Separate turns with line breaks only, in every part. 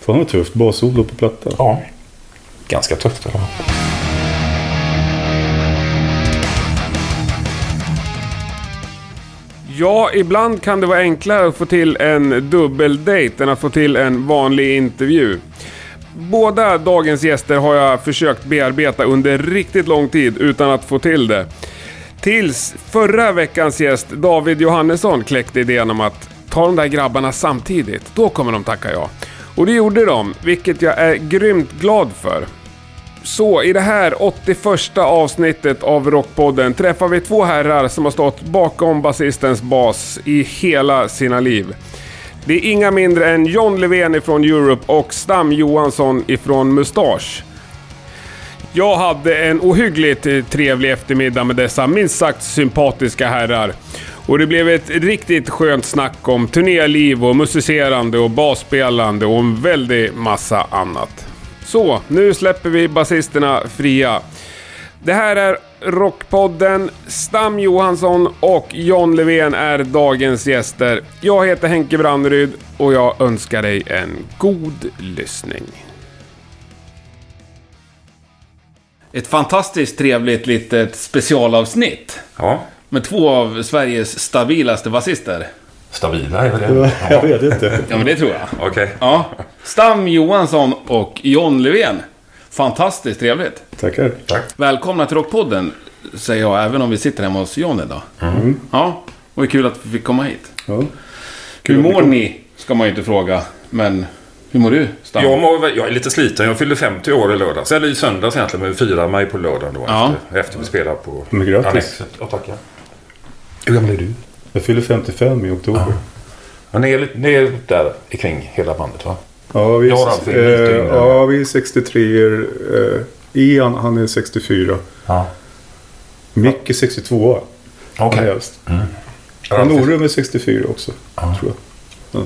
Fan vad tufft. Bara solo på platta.
Ja. Ganska tufft. Ja.
Ja, ibland kan det vara enklare att få till en dubbeldejt än att få till en vanlig intervju. Båda dagens gäster har jag försökt bearbeta under riktigt lång tid utan att få till det. Tills förra veckans gäst David Johannesson kläckte idén om att ta de där grabbarna samtidigt. Då kommer de tacka ja. Och det gjorde de, vilket jag är grymt glad för. Så i det här 81 avsnittet av Rockpodden träffar vi två herrar som har stått bakom basistens bas i hela sina liv. Det är inga mindre än John Levén ifrån Europe och Stam Johansson ifrån Mustasch. Jag hade en ohyggligt eh, trevlig eftermiddag med dessa minst sagt sympatiska herrar. Och det blev ett riktigt skönt snack om turnéliv och musicerande och basspelande och en väldig massa annat. Så, nu släpper vi basisterna fria. Det här är Rockpodden. Stam Johansson och John Levén är dagens gäster. Jag heter Henke Branneryd och jag önskar dig en god lyssning.
Ett fantastiskt trevligt litet specialavsnitt.
ja.
Med två av Sveriges stabilaste basister.
Stabila är väl det?
Jag vet inte.
Ja, men det tror jag.
Okej.
Ja. Stam Johansson och John Levén. Fantastiskt trevligt.
Tackar.
Tack.
Välkomna till Rockpodden, säger jag, även om vi sitter hemma hos John idag. Ja, och det är kul att vi fick komma hit.
Ja.
Hur mår ni? Ska man ju inte fråga, men hur mår du, Stam?
Jag, mår, väl- jag är lite sliten. Jag fyllde 50 år i lördags. Eller i söndags egentligen, men vi firade mig på lördagen då.
Ja.
Efter, efter vi spelade på
Men grattis.
Annexet. Ja, tackar. Hur gammal är du?
Jag fyller 55 i oktober.
Ja, ni, är, lite- ni är där kring hela bandet va?
Ja, vi,
Jag har alltid
eh,
lite yngre.
ja, vi är 63 er eh, Ian, han är 64.
Ja.
Micke 62
Okej. Mm.
Han är äldst. Han
Ralf, är-
Norum är 64 också. Tror jag.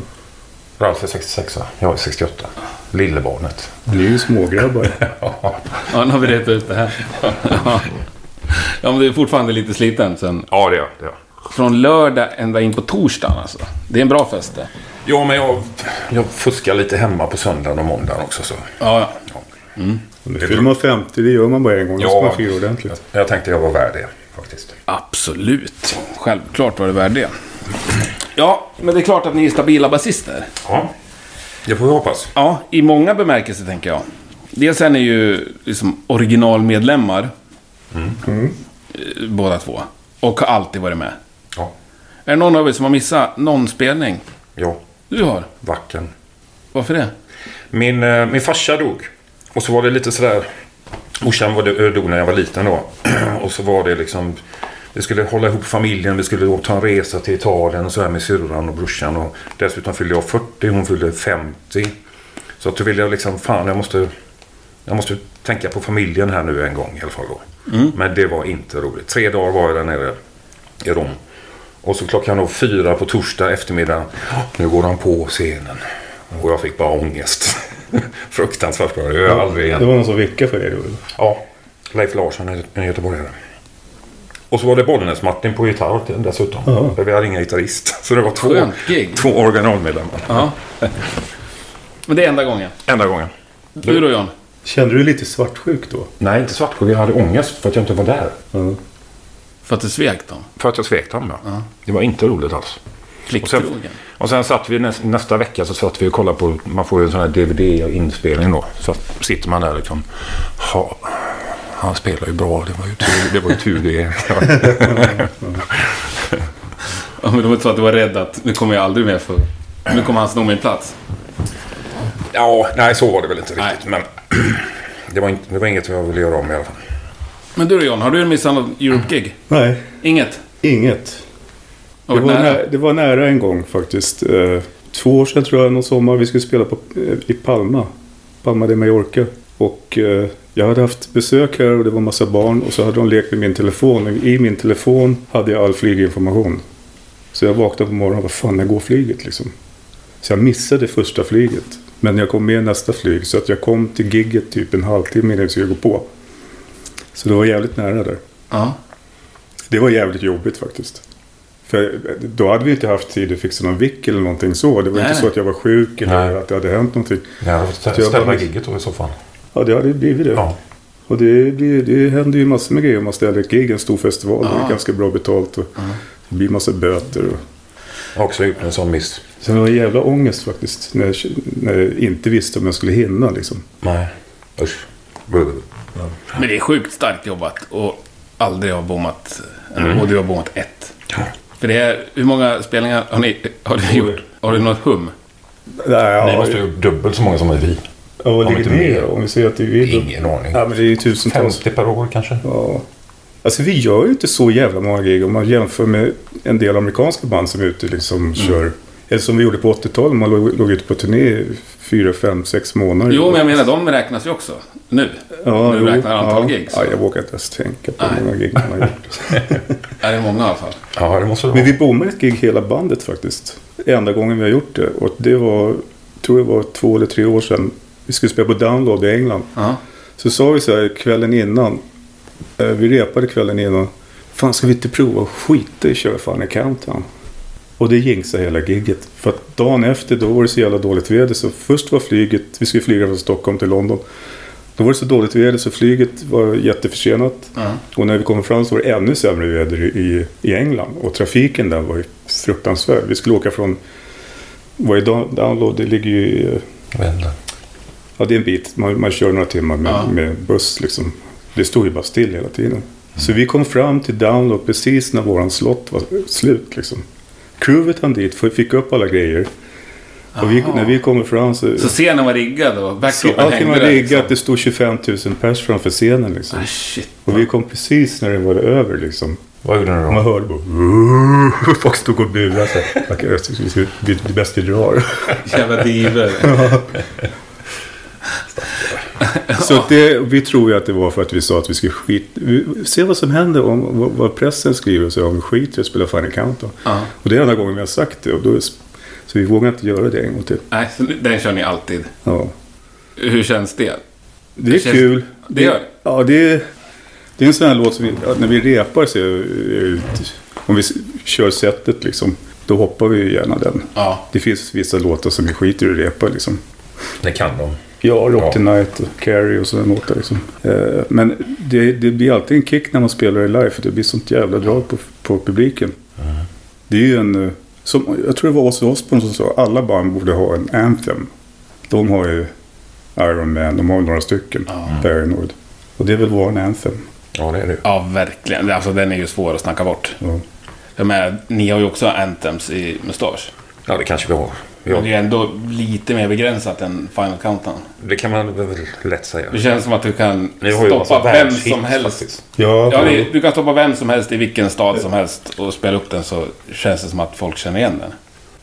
Ralf är 66 va? Jag är 68. Lillebarnet.
Ni är ju smågrabbar.
Ja, nu har vi rätt ut det här. Ja. Ja, men du är fortfarande lite sliten sen.
Ja, det är jag. Det är jag.
Från lördag ända in på torsdagen alltså. Det är en bra fest det.
Ja, men jag, jag fuskar lite hemma på söndagen och måndagen också. Så.
Ja, ja.
Nu fyller man 50, det gör man bara en gång. Då ska man fira
jag,
ordentligt.
jag tänkte jag var värd det faktiskt.
Absolut. Självklart var det värd det. Ja, men det är klart att ni är stabila basister.
Ja, det får vi hoppas.
Ja, i många bemärkelser tänker jag. Dels är ni ju liksom originalmedlemmar. Eh, Båda två. Och har alltid varit med.
Ja,
Är det någon av er som har missat någon spelning?
ja
Du har.
vacken.
Varför det?
Min, eh, min farsa dog. Och så var det lite sådär... Morsan var dö- dog när jag var liten då. Och så var det liksom... Vi skulle hålla ihop familjen. Vi skulle då ta en resa till Italien och så här med syrran och brorsan. Och dessutom fyllde jag 40. Hon fyllde 50. Så att då ville jag liksom... Fan, jag måste... Jag måste tänka på familjen här nu en gång i alla fall då. Men det var inte roligt. Tre dagar var jag där nere i Rom. Och så klockan då fyra på torsdag eftermiddag. Nu går de på scenen. Och jag fick bara ångest. Fruktansvärt bra. Det gör jag aldrig igen.
Det var någon som vickade för er då.
Ja, Leif Larsson är en göteborgare. Och så var det Bollnäs-Martin på gitarr till- dessutom.
Ja.
För vi hade ingen gitarrist. Så det var två,
Skönt gig.
två originalmedlemmar.
Ja. Men det är enda gången.
Enda gången.
Du då John?
Kände du dig lite svartsjuk då?
Nej, inte svartsjuk. Jag hade ångest för att jag inte var där.
Ja.
För att du svek dem?
För att jag svek dem, ja. Det var inte roligt alls. Och sen,
Plikttrogen?
och sen satt vi näs, nästa vecka så satt vi och kollade på, man får ju en sån här DVD-inspelning då. Så att, sitter man där liksom. Ha, han spelar ju bra, det var ju tur det. Var ju tur det.
Ja, men de tror att du var rädd att nu kommer jag aldrig mer för... Nu kommer han sno min plats.
ja, nej så var det väl inte
Nej.
riktigt. Men det var, inte, det var inget jag ville göra om i alla fall.
Men du då John, har du missat något Europe-gig?
Nej,
Inget?
inget.
Har
Det
varit
var,
nära?
nära, det var nära en gång faktiskt. Eh, Två år sedan tror jag, någon sommar. Vi skulle spela på, eh, i Palma. Palma de Mallorca. Och eh, jag hade haft besök här och det var massa barn. Och så hade de lekt med min telefon. I min telefon hade jag all flyginformation. Så jag vaknade på morgonen och vad fan, när går flyget liksom? Så jag missade första flyget. Men jag kom med i nästa flyg. Så att jag kom till gigget typ en halvtimme innan vi skulle gå på. Så det var jävligt nära där.
Ja.
Det var jävligt jobbigt faktiskt. För eh, då hade vi inte haft tid att fixa någon vick eller någonting så. Det var
Nej.
inte så att jag var sjuk eller
Nej.
att det hade hänt någonting.
Jag hade fått
Så jag
ställa
bara-
gigget då i så fall.
Ja, det hade blivit det.
Ja.
Och det, blir, det händer ju massor med grejer om man ställer ett gig, en stor festival. Det
Ja.
är ganska bra betalt och det blir massa böter. Och...
Jag har också gjort en sån miss.
Så det var en jävla ångest faktiskt när jag, när jag inte visste om jag skulle hinna liksom.
Nej. Usch. Buh.
Men det är sjukt starkt jobbat och aldrig har bommat. Och du har bommat ett. För det är, hur många spelningar har ni har du gjort? Har du något hum?
Nej,
Ni
ja,
måste ha gjort dubbelt så många som vi.
ja, vad ligger
inte
det
mer.
om vi säger att det är vi då?
Ingen aning.
Ja, men det är ju tusentals.
50 per år kanske?
Ja. Alltså vi gör ju inte så jävla många gig om man jämför med en del amerikanska band som är ute liksom
Mm.
kör. Eller som vi gjorde på 80-talet, man låg, låg ute på turné i fyra, fem, sex månader.
Jo, men jag menar de räknas ju också. Nu.
ja,
nu
jo,
räknar antal
ja.
gig, så.
Ja, jag vågar inte ens tänka på hur många gig man har gjort.
Är det många i alla fall?
Ja, det måste det
Men
vara.
vi bommade ett gig hela bandet faktiskt. Enda gången vi har gjort det. Och det var, tror jag var två eller tre år sedan. Vi skulle spela på Download i England.
Ja.
Så sa vi så här kvällen innan. eh, Vi repade kvällen innan. Fan ska vi inte prova att skita i köra fan i countdown? Och det jinxade hela gigget. För att dagen efter då var det så jävla dåligt väder. Så först var flyget, vi skulle flyga från Stockholm till London. Då var det så dåligt väder så flyget var jätteförsenat.
Ja.
Och när vi kom fram så var det ännu sämre väder i, i England. Och trafiken där var ju fruktansvärd. Vi skulle åka från... Vad är down- download? Det ligger ju... eh, i-
Jag vet inte.
Ja, det är en bit. Man, man kör några timmar med,
Ja.
med buss liksom. Det stod ju bara still hela tiden. Så vi kom fram till download precis när våran slott var slut liksom. Crewet hann dit, för- fick upp alla grejer. Och vi,
Aha.
när vi kommer fram så...
Så scenen var riggad och
så
backdropen
allting
hängde
var
där,
riggat.
liksom.
Det stod 25 000 pers framför scenen liksom.
Ah, shit.
Och vi kom precis när det var över liksom.
Vad gjorde ni
Man
då?
hörde bara... Folk stod och buade. så här. Man kan- Det är bäst vi drar.
Jävla diver.
Så att det, vi tror ju att det var för att vi sa att vi skulle skit, vi, se vad som händer om vad, vad pressen skriver så om vi skiter i att spela Final Countdown.
Ja.
Och det är enda gången vi har sagt det. Och då, är s- så vi vågar inte göra det en gång till.
Nej, så den kör ni alltid.
Ja.
Hur känns det?
Det är
Det känns-
kul.
det gör det.
Ja, det är, det är en sån här låt som vi, ja, när vi repar så är det- om vi s- kör setet liksom, då hoppar vi ju gärna den.
Ja.
Det finns vissa låtar som vi skiter i att repa liksom.
Ni kan dem.
Ja, Rock
Ja.
the Night och Carrie och sådana låtar liksom. Eh, men det, det blir alltid en kick när man spelar det live. För det blir sånt jävla drag på, på publiken. Det är ju en... eh, Som, jag tror det var Ozzy Osbourne som sa alla band borde ha en anthem. De har ju Iron Man, de har några stycken. Paranoid. Och det är väl vår anthem.
Ja, det är det.
Ja, verkligen. Alltså den är ju svår att snacka bort.
Ja.
Jag menar, ni har ju också anthems i Mustasch.
Ja, det kanske vi har.
Men det är
Ja,
ju ändå lite mer begränsat än Final Countdown.
det kan man väl lätt säga.
Det känns som att du kan
Ni har ju
stoppa
massa
vem
världshits
som helst.
faktiskt.
Ja,
Ja, det, du kan stoppa vem som helst i vilken stad som helst och spela upp den så känns det som att folk känner igen den.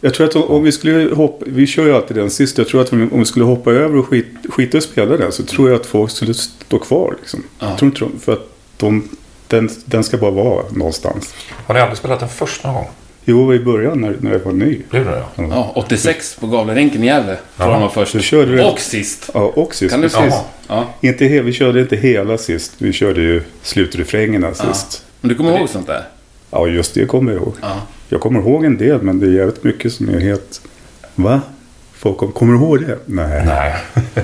Jag tror att om, om vi skulle hoppa... Vi kör ju alltid den sist. Jag tror att om, om vi skulle hoppa över och skit, skita och spela den så tror jag att folk skulle stå kvar. Liksom. Jag tror inte de, för att de, den, den ska bara vara någonstans.
Har ni aldrig spelat den först någon gång?
Jo, i början när, när jag var ny.
Det gjorde ni ja.
Ja, 86 på Gavlerinken i Gävle tror
Ja,
han var först.
du körde det.
Och sist.
Ja, och sist.
Kan du
precis.
precis? Ja.
Inte, he- vi körde inte hela sist. Vi körde ju slutrefrängerna sist.
Men du kommer ihåg sånt där?
Ja, just det kommer jag ihåg.
Ja.
Jag kommer ihåg en del, men det är jävligt mycket som är helt... Va? Folk kom, kommer du ihåg det? Nej.
Nej.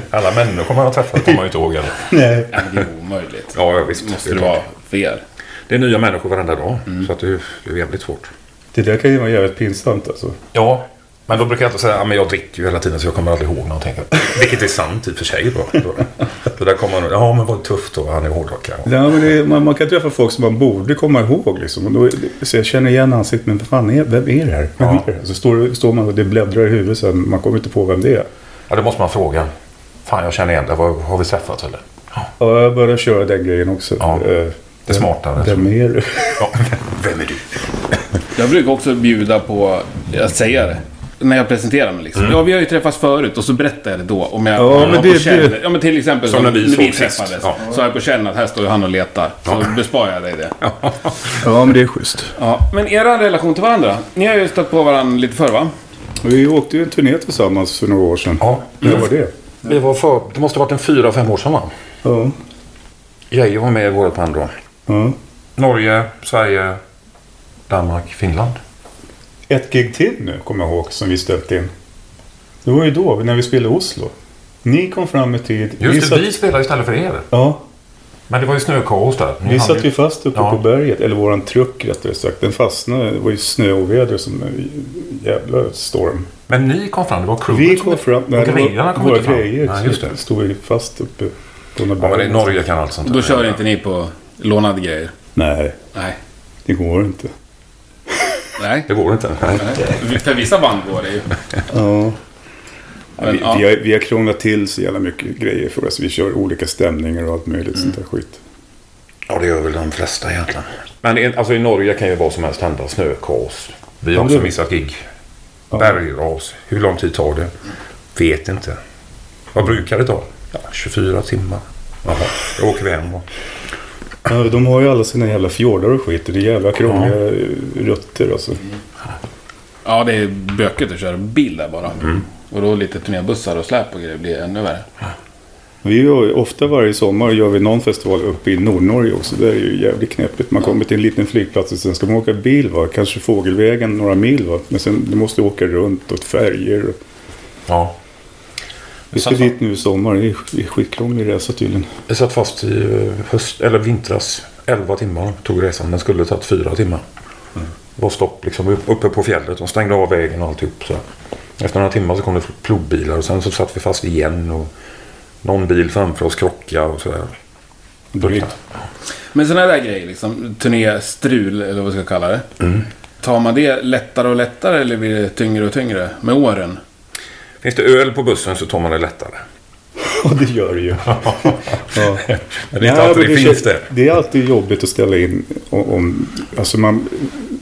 Alla människor man har träffat kommer man ju inte ihåg heller.
Nej.
Ja, men Det är omöjligt.
Ja, ja, visst.
Det måste
Det Mm. är
det
klart.
vara fel.
Det är nya människor varenda dag. Så att det är det är jävligt svårt.
Det där kan ju vara jävligt pinsamt alltså.
Ja, men då brukar jag alltid säga att jag dricker ju hela tiden så jag kommer aldrig ihåg någonting. Vilket är sant i och för sig. Då. Då- Då där kommer man ja men vad tufft då, han är hårdrockare.
Ja, men det, man, man kan träffa folk som man borde komma ihåg. Liksom. Och då, så jag känner igen ansiktet, men vad fan är, vem är det här? Vem
Ja.
är det? här? Så står, står man och det bläddrar i huvudet sen, man kommer inte på vem det är.
Ja, det måste man fråga. Fan, jag känner igen det. Vad- Har vi träffats eller?
Ja, jag börjar köra den grejen också.
Ja,
Eh,
det är smartare.
Vem är du?
Ja, vem är du?
Jag brukar också bjuda på att säga det. När jag presenterar mig liksom. Ja, vi har ju träffats förut och så berättar jag det då. Om jag,
Ja,
om jag
men
har
det-
på känn,
det-
Ja, men till exempel
Som när vi sågs sist.
träffades.
Ja.
Så har jag på känn att här står ju han och letar. Så besparar jag dig det. Ja.
Ja, men det är schysst.
Men er relation till varandra. Ni har ju stött på varandra lite förr va?
Vi åkte ju en turné tillsammans för några år sedan.
Ja.
När var det?
Vi var för, det måste ha varit en fyra, fem år sedan va?
Ja.
Geijer var med i vårt band då.
ja.
Norge, Sverige, Danmark, Finland.
ett gig till nu, kommer jag ihåg, som vi ställt in. Det var ju då, när vi spelade i Oslo. Ni kom fram i tid.
Just det,
satt,
vi spelar istället för er.
Ja,
Men det var ju snökaos där. Ni
vi
hann
satt
ju-
ju fast uppe
Ja.
på berget, eller våran truck rättare sagt. Den fastnade, det var ju snö och väder som en jävla storm.
Men ni kom fram, det var crewet.
Vi
som-
kom fram, nej, det
grejerna
var
kom
våra
inte fram.
grejer.
Nej, just
så
det.
Stod vi fast uppe på några
Ja, men
berg.
i Norge kan allt sånt
Då kör inte ni på lånade grejer?
Nej,
Nej.
det går inte.
Nej.
Det går inte. Nej.
Nej. För vissa band går det ju.
Ja.
Men,
vi,
ja.
vi, har, vi har krånglat till så jävla mycket grejer för oss. Vi kör olika stämningar och allt möjligt
Mm.
sånt där skit.
Ja, det gör väl de flesta egentligen. Men i- alltså, i Norge kan ju vad som helst hända. Snökaos. Vi har
Ja,
också
det-
missat gig. Bergras. Hur lång tid tar det? Vet inte. Vad brukar det ta? Ja, 24 timmar. Jaha, då åker vi hem. då.
Ja, de har ju alla sina jävla fjordar och skit. och Det är jävla krångliga eh, rutter alltså.
Ja, det är bökigt att köra bil där bara. Och då lite turnébussar och släp och grejer blir ännu värre.
Vi gör ju ofta varje sommar gör vi någon festival uppe i Nordnorge också. Det är ju jävligt knepigt. Man kommer till en liten flygplats och sen ska man åka bil va. Kanske fågelvägen några mil va. Men sen du måste åka runt och färger. och-
Ja.
Vi ska dit nu i sommar. Det är sk- det är skitkrånglig resa tydligen.
Jag satt fast i eh, höst, eller vintras. 11 timmar tog resan. Den skulle tagit fyra timmar. Det var stopp liksom upp- uppe på fjället. De stängde av vägen och alltihop. Så. Efter några timmar så kom det plogbilar och sen så satt vi fast igen. Och någon bil framför oss krockade och sådär.
Drygt.
Men sådana där grejer, liksom, turnéstrul eller vad vi ska kalla det. Tar man det lättare och lättare eller blir det tyngre och tyngre med åren?
Finns det öl på bussen så tar man det lättare.
Och det gör det ju. Ja.
Men det är inte alltid det
men
finns
kän-
det.
det är alltid jobbigt att ställa in. Om, om, alltså man,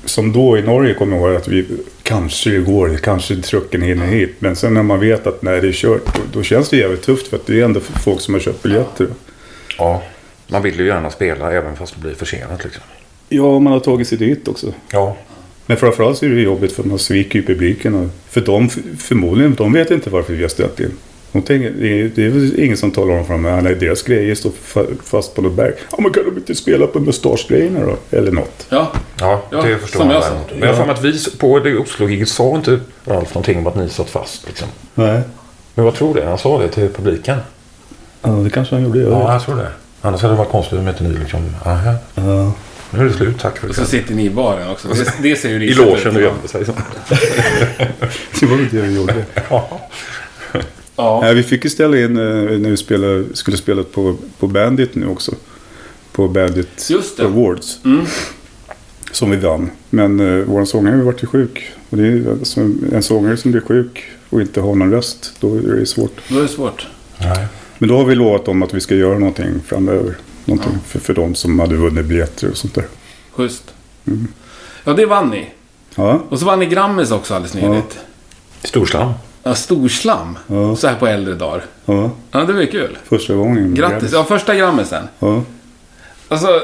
som då i Norge kommer jag ihåg att vi kanske det går, kanske trucken hinner hit. Men sen när man vet att när det är kört, då, då känns det jävligt tufft. För att det är ändå folk som har köpt biljetter.
Ja. Man vill ju gärna spela även fast det blir försenat liksom.
Ja, man har tagit sig dit också.
Ja.
Men framförallt så är det jobbigt för att man sviker ju publiken. Och, för de, f- förmodligen, de vet inte varför vi har ställt in. De tänker, det, är, det är väl ingen som talar om för dem att deras grejer står fa- fast på något berg. Ja, men kan de inte spela på mustaschgrejerna då? Eller något.
Ja,
Ja,
Ja,
det förstår
som
man
jag sa.
däremot. Men jag har för mig att vi på det Oslo-giget sa inte Ralf någonting om att ni satt fast liksom.
Nej.
Men jag tror det. Han sa det till publiken.
Ja, det kanske han gjorde.
Ja,
Ja.
jag tror det. Annars hade det varit konstigt om inte ni liksom... Aha,
Ja.
nu är det slut. Tack för
och så
det.
sitter ni i baren också. Det, det ser ju
I
risigt
logen och gömde sig. så.
Det var inte det vi gjorde.
Ja.
Ja,
Nej, vi fick ju ställa in eh, när vi spelade, skulle spela på, på Bandit nu också. På Bandit
Just det. Mm.
Awards. Som vi vann. Men eh, vår sångare har ju varit sjuk. Och det är ju alltså en sångare som blir sjuk och inte har någon röst. Då är det ju svårt.
då är det svårt.
Nej.
Men då har vi lovat dem att vi ska göra någonting framöver. Någonting för, för de som hade vunnit biljetter och sånt där.
Schysst. Ja, det vann ni.
Ja,
Och så vann ni Grammis också alldeles nyligt.
Storslam.
Ja, storslam.
Ja.
Så här på äldre dagar.
ja.
Ja, det var ju kul.
Första gången.
Grattis. Ja, första grammisen.
Ja.
Alltså,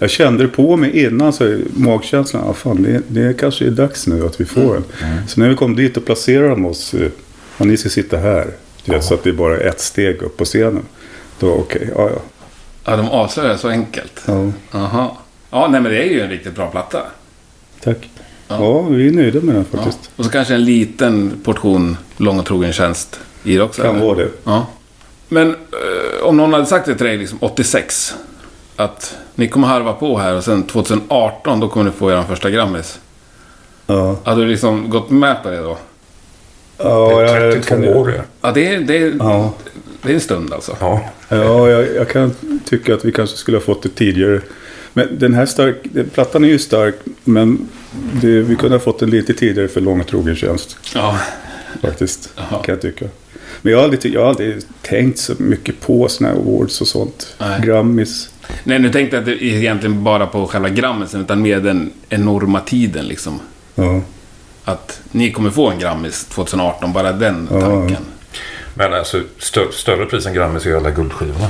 Jag kände det på mig innan, så magkänslan, ah, fan, det, det kanske är dags nu att vi får en. Så när vi kom dit och placerade de oss, eh, ja, ni ska sitta här, du vet, så att det är bara ett steg upp på scenen. Då okej, ja ja.
ja, de avslöjar så enkelt.
ja.
Aha. Ja, nej men det är ju en riktigt bra platta.
Tack. Ja. vi är nöjda med den
Ja.
faktiskt.
Och så kanske en liten portion lång och trogen tjänst i det också.
Kan
eller?
vara det.
Ja. Men eh, om någon hade sagt det till dig liksom 86. Att ni kommer harva på här och sen 2018 då kommer ni få er första Grammis.
Ja,
Hade du liksom gått med på det då?
ja,
det är
jag, kan,
32 år det.
Ja, det är, det är,
Ja.
det är en stund alltså.
Ja.
ja jag, jag kan tycka att vi kanske skulle ha fått det tidigare. Men den här stark, den, plattan är ju stark, men det, vi kunde ha fått den lite tidigare för lång och trogen tjänst.
Ja.
faktiskt.
Jaha.
Kan jag tycka. Men jag har aldrig, ty- jag har aldrig tänkt så mycket på såna här awards och sånt.
Nej.
Grammis.
Nej, nu tänkte jag att det är egentligen bara på själva Grammisen utan mer den enorma tiden liksom.
Ja.
Att ni kommer få en Grammis 2018, bara den
Ja.
tanken.
Men alltså, stö- större pris än Grammis är ju alla guldskivorna.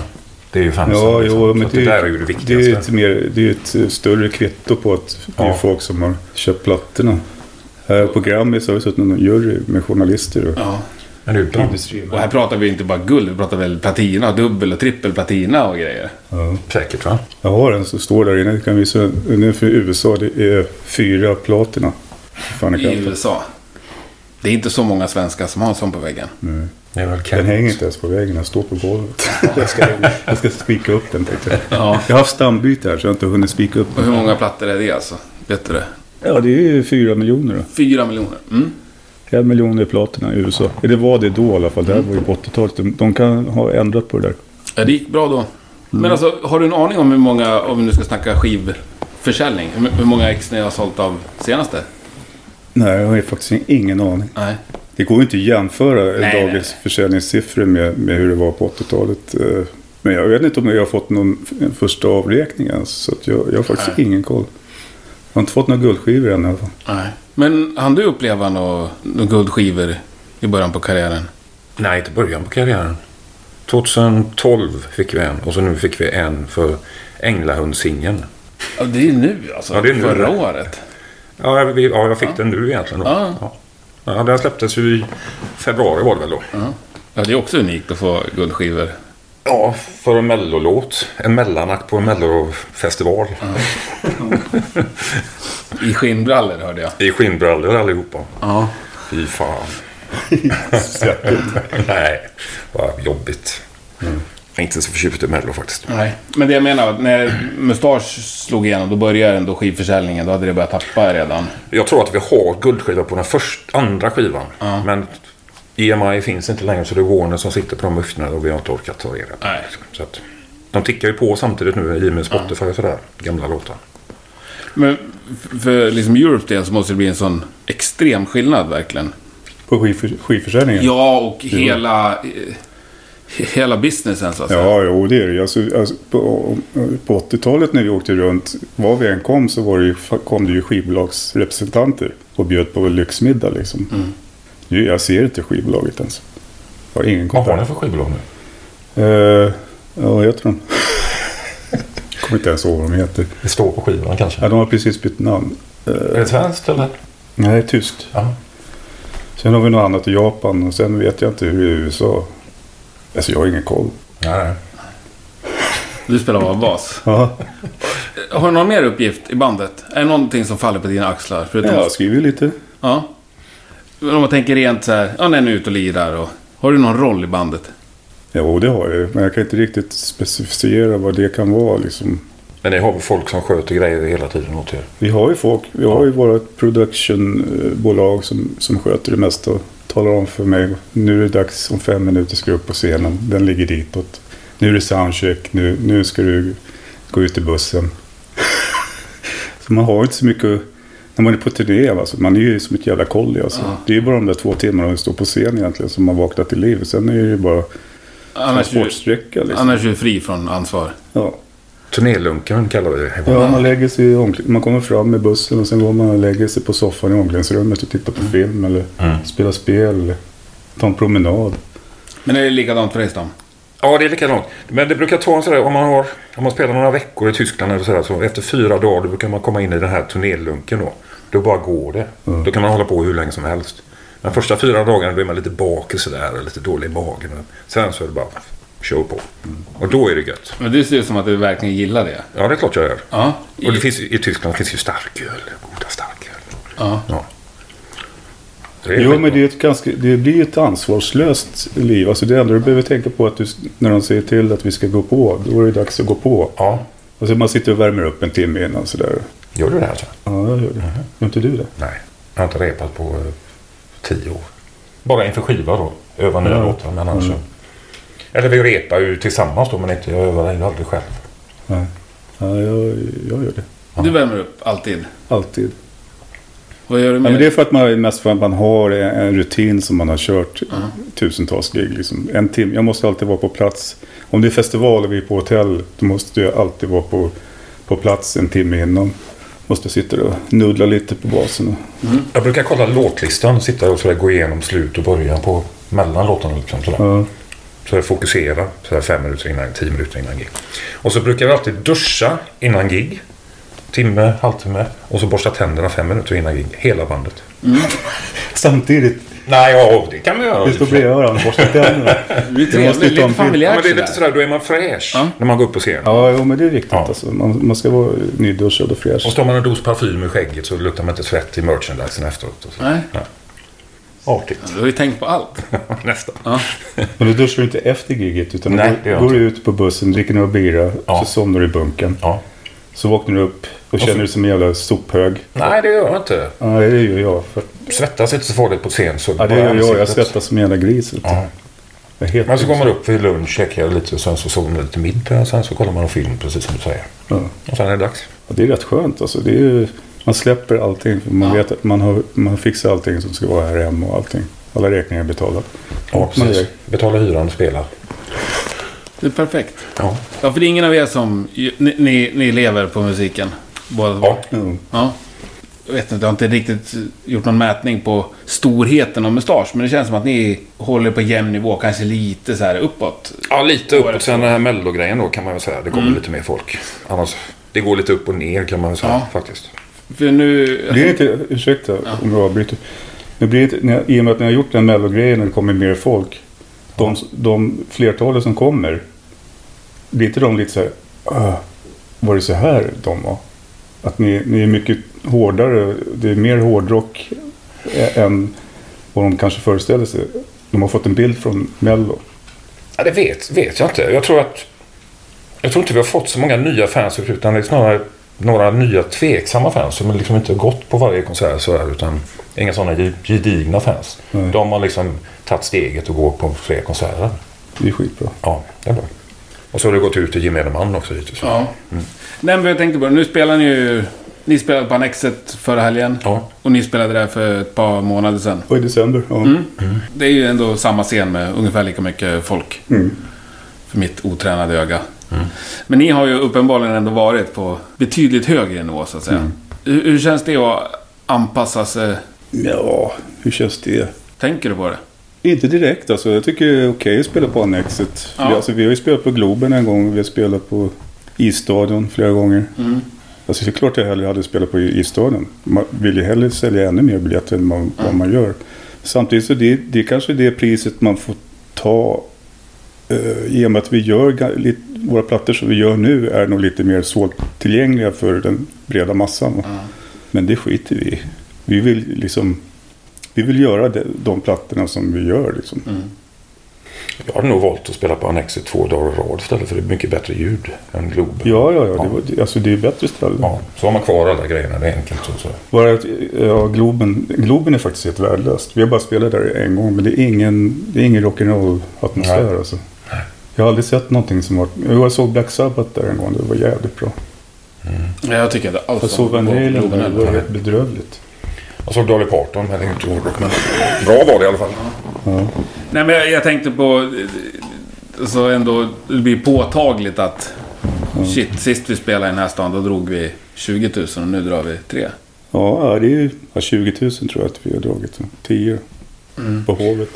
Det är ju fansen.
Ja,
liksom.
jo,
Så
men
att det, där är ju det
Det är, ju
viktigaste.
ett mer, det är ju ett eh, större kvitto på att det är
Ja.
folk som har köpt plattorna. Här på Grammis har vi suttit någon jury med journalister och
Ja.
Men det är ju bra.
Och
industrimän.
här pratar vi inte bara guld, vi pratar väl platina, dubbel och trippel platina och grejer.
Ja.
Säkert va?
Jag har en som står där inne. Jag kan visa. Den är för USA. Det är fyra platina. Fan, jag kan
i
inte.
USA. Det är inte så många svenskar som har en sån på väggen.
Det är väl
Den
Kent.
hänger inte ens på väggen, den står på golvet. jag, ska, jag ska spika upp den tänkte jag.
Ja.
Jag har haft stambyte här så jag har inte hunnit spika upp
Och
den.
hur många plattor är det alltså? Vet du det?
Ja, det är ju fyra miljoner då.
Fyra miljoner. Mm.
En miljon är platina i USA. Det var det då i alla fall. Det här var ju på 80-talet. De kan ha ändrat på det där.
Ja, det gick bra då. Men alltså, har du en aning om hur många, om vi nu ska snacka skivförsäljning, hur hur många ex ni har sålt av senaste?
Nej, jag har ju faktiskt ingen aning.
Nej.
Det går ju inte att jämföra
nej,
dagens försäljningssiffror med, med hur det var på 80-talet. eh. Men jag vet inte om jag har fått någon f- en första avräkning ens. Så att jag, jag har faktiskt ingen koll. Jag har inte fått några guldskivor än i alla fall.
Nej. Men hann du uppleva några några guldskivor i början på karriären?
Nej, inte början på karriären. 2012 fick vi en och så nu fick vi en för Änglahundssingeln.
Ja, det är ju nu alltså.
Ja, det är nu.
Förra året.
Ja, jag, vi- ja, jag fick den nu egentligen. Då.
Ja.
Ja. Ja, den släpptes ju i februari var det väl då.
Ja, det är också unikt att få guldskivor.
Ja, för en mellolåt. En mellanakt på en mellofestival.
I skinnbrallor hörde jag.
I skinnbrallor allihopa.
Ja.
Fy fan. Nej, vad jobbigt.
Mm.
Jag är inte så förtjust i mello faktiskt.
Nej. Men det jag menar, var att när Mustasch slog igenom, då började ändå skivförsäljningen. Då hade det börjat tappa redan.
Jag tror att vi har guldskiva på den först, andra skivan. Men EMI finns inte längre så det är Warner som sitter på de muffinorna och vi har inte orkat ta reda
Nej.
Så att, de tickar ju på samtidigt nu i och med Spotify och sådär. Gamla låtar.
Men f- för liksom Europes del så måste det bli en sån extrem skillnad verkligen.
På skivför- skivförsäljningen?
Ja, och hela... eh, Hela businessen så att säga.
Ja, jo det är det ju. alltså, alltså, på, på 80-talet när vi åkte runt, var vi än kom så var det ju, kom det ju skivbolagsrepresentanter och bjöd på lyxmiddag liksom. Nu, jag ser inte skivbolaget ens. Jag har ingen
Vad har
kontakt.
ni för skivbolag nu?
Eh, ja, vad heter de? Kommer inte ens ihåg vad de heter.
Det står på skivan kanske.
Ja, de har precis bytt namn.
Är det svenskt eller?
Nej, tyskt.
Ja.
Sen har vi något annat i Japan och sen vet jag inte hur det är i USA. Alltså jag har ingen koll.
Nej, nej.
Du spelar bara bas.
Ja,
Har du någon mer uppgift i bandet? Är det någonting som faller på dina axlar? Förutom
jag skriver lite.
Ja. Men Om man tänker rent så här, ja när ni är ute och lirar och... Har du någon roll i bandet?
Jo, det har jag ju, men jag kan inte riktigt specificera vad det kan vara. Liksom.
Men ni har väl folk som sköter grejer hela tiden åt er?
Vi har ju folk, vi har ju våra productionbolag som, som sköter det mesta och talar om för mig. Nu är det dags, om fem minuter ska du upp på scenen, den ligger ditåt. Nu är det soundcheck, nu, nu ska du gå ut i bussen. så man har ju inte så mycket, när man är på turné, alltså, man är ju som ett jävla kolli. Alltså. Det är ju bara de där två timmarna att stå på scen egentligen som man vaknar till liv. Sen är det ju bara
Annars är, du,
transportsträcka liksom.
annars är du fri från ansvar.
Ja.
Turnélunken kallar vi det.
Ja, man lägger sig i omkläd- Man kommer fram med bussen och sen går man och lägger sig på soffan i omklädningsrummet och tittar på film eller spelar spel eller tar en promenad.
Men är det likadant för dig Stam?
Ja, det är likadant. Men det brukar ta en sådär, om man, har, om man spelar några veckor i Tyskland eller sådär, så efter fyra dagar då brukar man komma in i den här turnélunken då. Då bara går det.
Mm.
Då kan man hålla på hur länge som helst. Men första fyra dagarna då är man lite bakis sådär, och lite dålig i magen. Sen så är det bara show på.
Mm.
Och då är det gött.
Men det ser ut som att du verkligen gillar det.
Ja, det är klart jag gör.
Ja.
Och det finns, ju- i Tyskland finns ju starköl. Goda starköl.
Ja.
Ja. Så är
Jo,
skitbra.
men det, är ett ganska, det blir ju ett ansvarslöst liv. Alltså det enda du behöver tänka på är att du, när de säger till att vi ska gå på, då är det dags att gå på.
Ja,
Och så man sitter och värmer upp en timme innan sådär.
gör du det alltså?
Ja, jag gör det. Gör inte du det?
Nej, jag har inte repat på eh, tio år. Bara inför skiva då. Öva nya låtar, men annars så... Eller vi repar ju tillsammans då, men inte, jag övar ju aldrig själv.
Nej. Ja, jag, jag gör det.
Du värmer upp alltid.
Alltid.
Vad gör du
Ja,
mer?
men det är för att man, mest för att man har en rutin som man har kört tusentals gig. Liksom. En timme. Jag måste alltid vara på plats. Om det är festival och vi är på hotell, då måste jag alltid vara på, på plats en timme innan. Måste sitta och nuddla lite på basen. och-
Jag brukar kolla låtlistan, sitta och sådär, gå igenom slut och början på mellan låtarna. Liksom, sådär.
Ja.
Så jag fokuserar sådär, fem minuter innan, tio minuter innan gig. Och så brukar jag alltid duscha innan gig. Timme, halvtimme. Och så borsta tänderna fem minuter innan gig. Hela bandet.
Samtidigt.
Nej, ja, det kan man göra.
Vi står bredvid varandra, borsta tänderna.
Det är
måste
trevligt.
ju ta en
Lite
bild.
Ja,
familjärt
men det är lite
sådär.
sådär, då är man fräsch
Ja.
när man går upp på scen.
Ja, jo, men det är riktigt
Ja.
alltså. Man, man ska vara nyduschad och fräsch.
Och så tar man en dos parfym i skägget så luktar man inte svett i merchandisen efteråt. Och så.
Nej,
Artigt.
du har ju tänkt på allt.
Nästan.
Men du duschar inte efter giget utan
Nej, det
du
gör
går, går
jag
ut på bussen, dricker några bira,
Ja.
så somnar du i bunkern.
Ja.
Så vaknar du upp och känner dig som en jävla sophög.
Nej, det gör jag inte.
Ja, det gör jag. För,
Svettas inte så farligt på scen. Så
ja, det
bara
gör jag. Jag
ansiktet.
svettas som en jävla gris. vet du.
Ja.
Jag är helt
Men så går man upp vid lunch, käkar lite och sen så sover man lite middag och sen så kollar man en film precis som du säger.
Ja.
Och sen är det dags.
Ja, det är rätt skönt alltså. Det är ju, man släpper allting. För man vet att man har, man har fixat allting som ska vara här hemma och allting. Alla räkningar är betalda.
Ja,
man
precis. Betala hyran och spela.
Det är perfekt.
Ja.
Ja, för det är ingen av er som... Ni, ni, ni lever på musiken. Båda två.
Ja.
Mm.
Ja. Jag vet inte, jag har inte riktigt gjort någon mätning på storheten av mustasch. Men det känns som att ni håller på jämn nivå, kanske lite så här uppåt.
ja, lite uppåt. Sen den här mellogrejen då kan man väl säga. Det kommer
Mm.
lite mer folk. Annars, det går lite upp och ner kan man väl säga
Ja.
faktiskt.
För nu...
Blir det inte, ursäkta om jag avbryter. Det blir inte, när, I och med att ni har gjort den här mellogrejen och det kommer mer folk. De, de flertalet som kommer. Blir inte de lite så här. "Ah, var det så här de var? Att ni, ni är mycket hårdare. Det är mer hårdrock ä- än vad de kanske föreställer sig. De har fått en bild från Mello.
Ja, det vet, vet jag inte. Jag tror att... Jag tror inte vi har fått så många nya fans utan det är snarare några nya tveksamma fans som liksom inte har gått på varje konsert så här, utan inga sådana ge- gedigna fans.
Nej.
De har liksom tagit steget och går på fler konserter.
Det är skitbra.
Ja, det är bra. Och så har det gått ut till gemene man också hittills.
Ja. Nej, men jag tänkte på det. Nu spelar ni ju... Ni spelade på Annexet förra helgen.
Ja.
Och ni spelade där för ett par månader sedan.
Och i december. Ja.
Det är ju ändå samma scen med ungefär lika mycket folk. För mitt otränade öga. Men ni har ju uppenbarligen ändå varit på betydligt högre nivå så att säga. Hur, hur känns det att eh, anpassa sig?
ja, hur känns det?
Tänker du på det?
Inte direkt alltså. Jag tycker det är okej att spela på Annexet.
Ja.
Vi, alltså, vi har ju spelat på Globen en gång. Vi har spelat på Isstadion flera gånger. Alltså, det är klart jag hellre hade spelat på Isstadion. Man vill ju hellre sälja ännu mer biljetter än man, vad man gör. Samtidigt så det, det är kanske det priset man får ta. Uh, I och med att vi gör ga- lite, våra plattor som vi gör nu är nog lite mer svårtillgängliga för den breda massan. va. Men det skiter vi i. Vi vill liksom vi vill göra de, de plattorna som vi gör. Liksom.
Jag hade nog valt att spela på Annexet två dagar i rad istället för det är mycket bättre ljud än Globen.
Ja, ja, ja. Det, var, det- alltså, det är bättre ställen.
Ja, så har man kvar alla grejerna, det är enkelt. Så, så.
Bara att, ja, Globen, Globen är faktiskt helt värdelöst. Vi har bara spelat där en gång, men det är ingen, det är ingen rock'n'roll-atmosfär.
Nej.
Alltså. Jag har aldrig sett någonting som var... Jag såg Black Sabbath där en gång, det var jävligt bra.
Jag tycker inte alls
Jag såg Van Halen där, det var
Nej.
helt bedrövligt.
Jag såg Dolly Parton, men det är inte hårdrock. Men bra var det i alla fall.
Nej, men jag, jag tänkte på... eh, Så ändå, det blir påtagligt att...
Mm.
Shit, sist vi spelade i den här stan då drog vi 20 000 och nu drar vi 3.
Ja, ja, det är ju ja, 20 000 tror jag att vi har dragit. 10 på Hovet.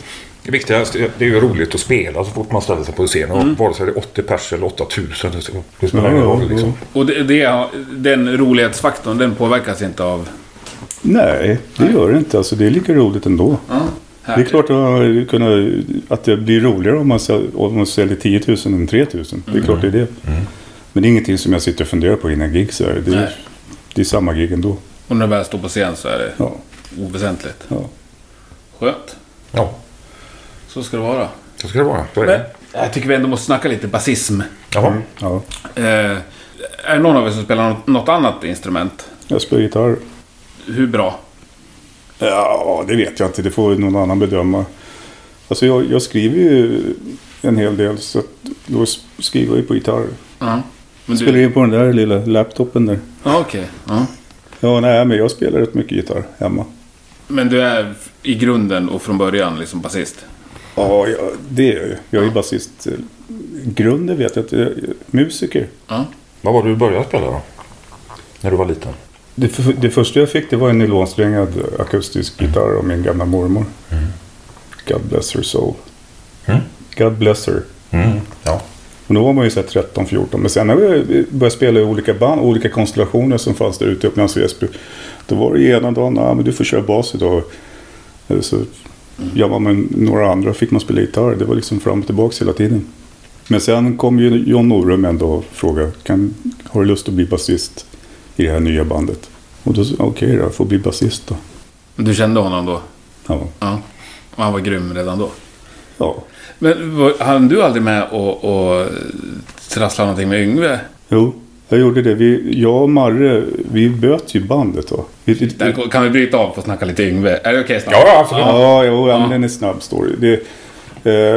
Det viktigaste det är ju roligt att spela så fort man ställer sig på scen. Och Vare sig det är 80 pers eller 8000. det- Det spelar ingen
Ja,
roll
ja,
liksom.
Och det, det, den rolighetsfaktorn, den påverkas inte av...
Nej, det gör det inte. Alltså, det är lika roligt ändå.
Ja,
Det är klart att, man kunna, att det blir roligare om man, säl, om man säljer 10 000 än 3 000. Det är klart det är det. Men det är ingenting som jag sitter och funderar på innan gig. Så här. det,
Nej.
är, det är samma gig ändå.
Och när du väl står på scen så är det
Ja,
oväsentligt.
ja.
Skönt.
Ja,
Så ska det vara.
så ska det vara. Så är
Men,
det.
jag tycker vi ändå måste snacka lite basism.
Jaha.
ja.
Eh, är det någon av er som spelar något, något annat instrument?
Jag spelar gitarr.
Hur bra?
Ja, det vet jag inte. Det får någon annan bedöma. Alltså jag, jag skriver ju en hel del. Så att då s- skriver jag ju på gitarr.
Ja. Men
Spelar
du...
ju på den där lilla laptopen där.
Ja, okej. Ja.
Ja, nej, men jag spelar rätt mycket gitarr hemma.
Men du är i grunden och från början liksom basist?
Ja, jag, det är jag ju. Jag är ju basist. eh, i Grunden vet jag att jag är musiker.
Ja.
Vad var det du började spela då? När du var liten?
Det, f- det första jag fick det var en nylonsträngad akustisk gitarr av min gamla mormor. God bless her soul.
Mm.
God bless her.
Mm. Ja.
Och då var man ju så här 13-14. Men sen när vi började spela i olika band, olika konstellationer som fanns där ute i Upplands Väsby. Då var det ena dagen, ah, men du får köra bas idag. Eller Så jobba med några andra fick man spela gitarr. Det var liksom fram och tillbaka hela tiden. Men sen kom ju John Norum ändå och frågade, kan, har du lust att bli basist i det här nya bandet? Och då sa jag, okej då, jag får bli basist då.
Du kände honom då?
Ja.
Ja. Och han var grym redan då?
ja.
Men var- hann du aldrig med och, och trassla någonting med Yngve?
Jo, jag gjorde det. Vi, jag och Marre, vi böt ju bandet då. Vi, vi,
Där ko- kan vi bryta av och snacka lite Yngve? Är det okej snart?
Ja, absolut.
Ja, jo, ja. men den är snabb story. Det,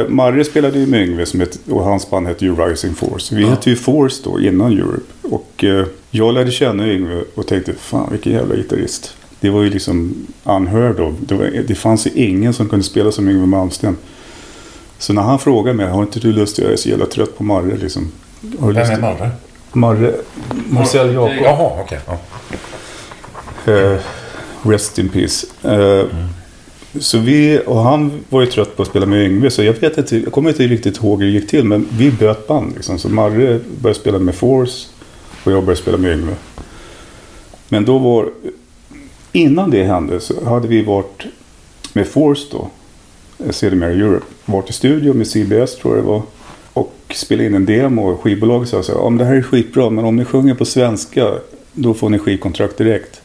eh, Marre spelade ju med Yngve som het, och hans band hette ju Rising Force. Vi hette ju Force då, innan Europe. Och eh, jag lärde känna Yngve och tänkte, fan vilken jävla gitarrist. Det var ju liksom unheard of. Det, var, det fanns ju ingen som kunde spela som Yngve Malmsten. Så när han frågade mig, har inte du lust att jag är så jävla trött på Marre liksom. Har du lust att-
Marre?
Marre? Marcel Jakob.
Jaha, okej. Ja.
Eh, rest in peace. Eh, Så vi, och han var ju trött på att spela med Yngve, så jag, vet inte, jag kommer inte riktigt ihåg hur det gick till, men vi böt band. Liksom. Så Marre började spela med Force och jag började spela med Yngve. Men då var, innan det hände så hade vi varit med Force då, eh, sedermera Europe, varit i studio med CBS tror jag det var. Och spelade in en demo och skivbolaget sa så här, om det här är skitbra, men om ni sjunger på svenska, då får ni skivkontrakt direkt.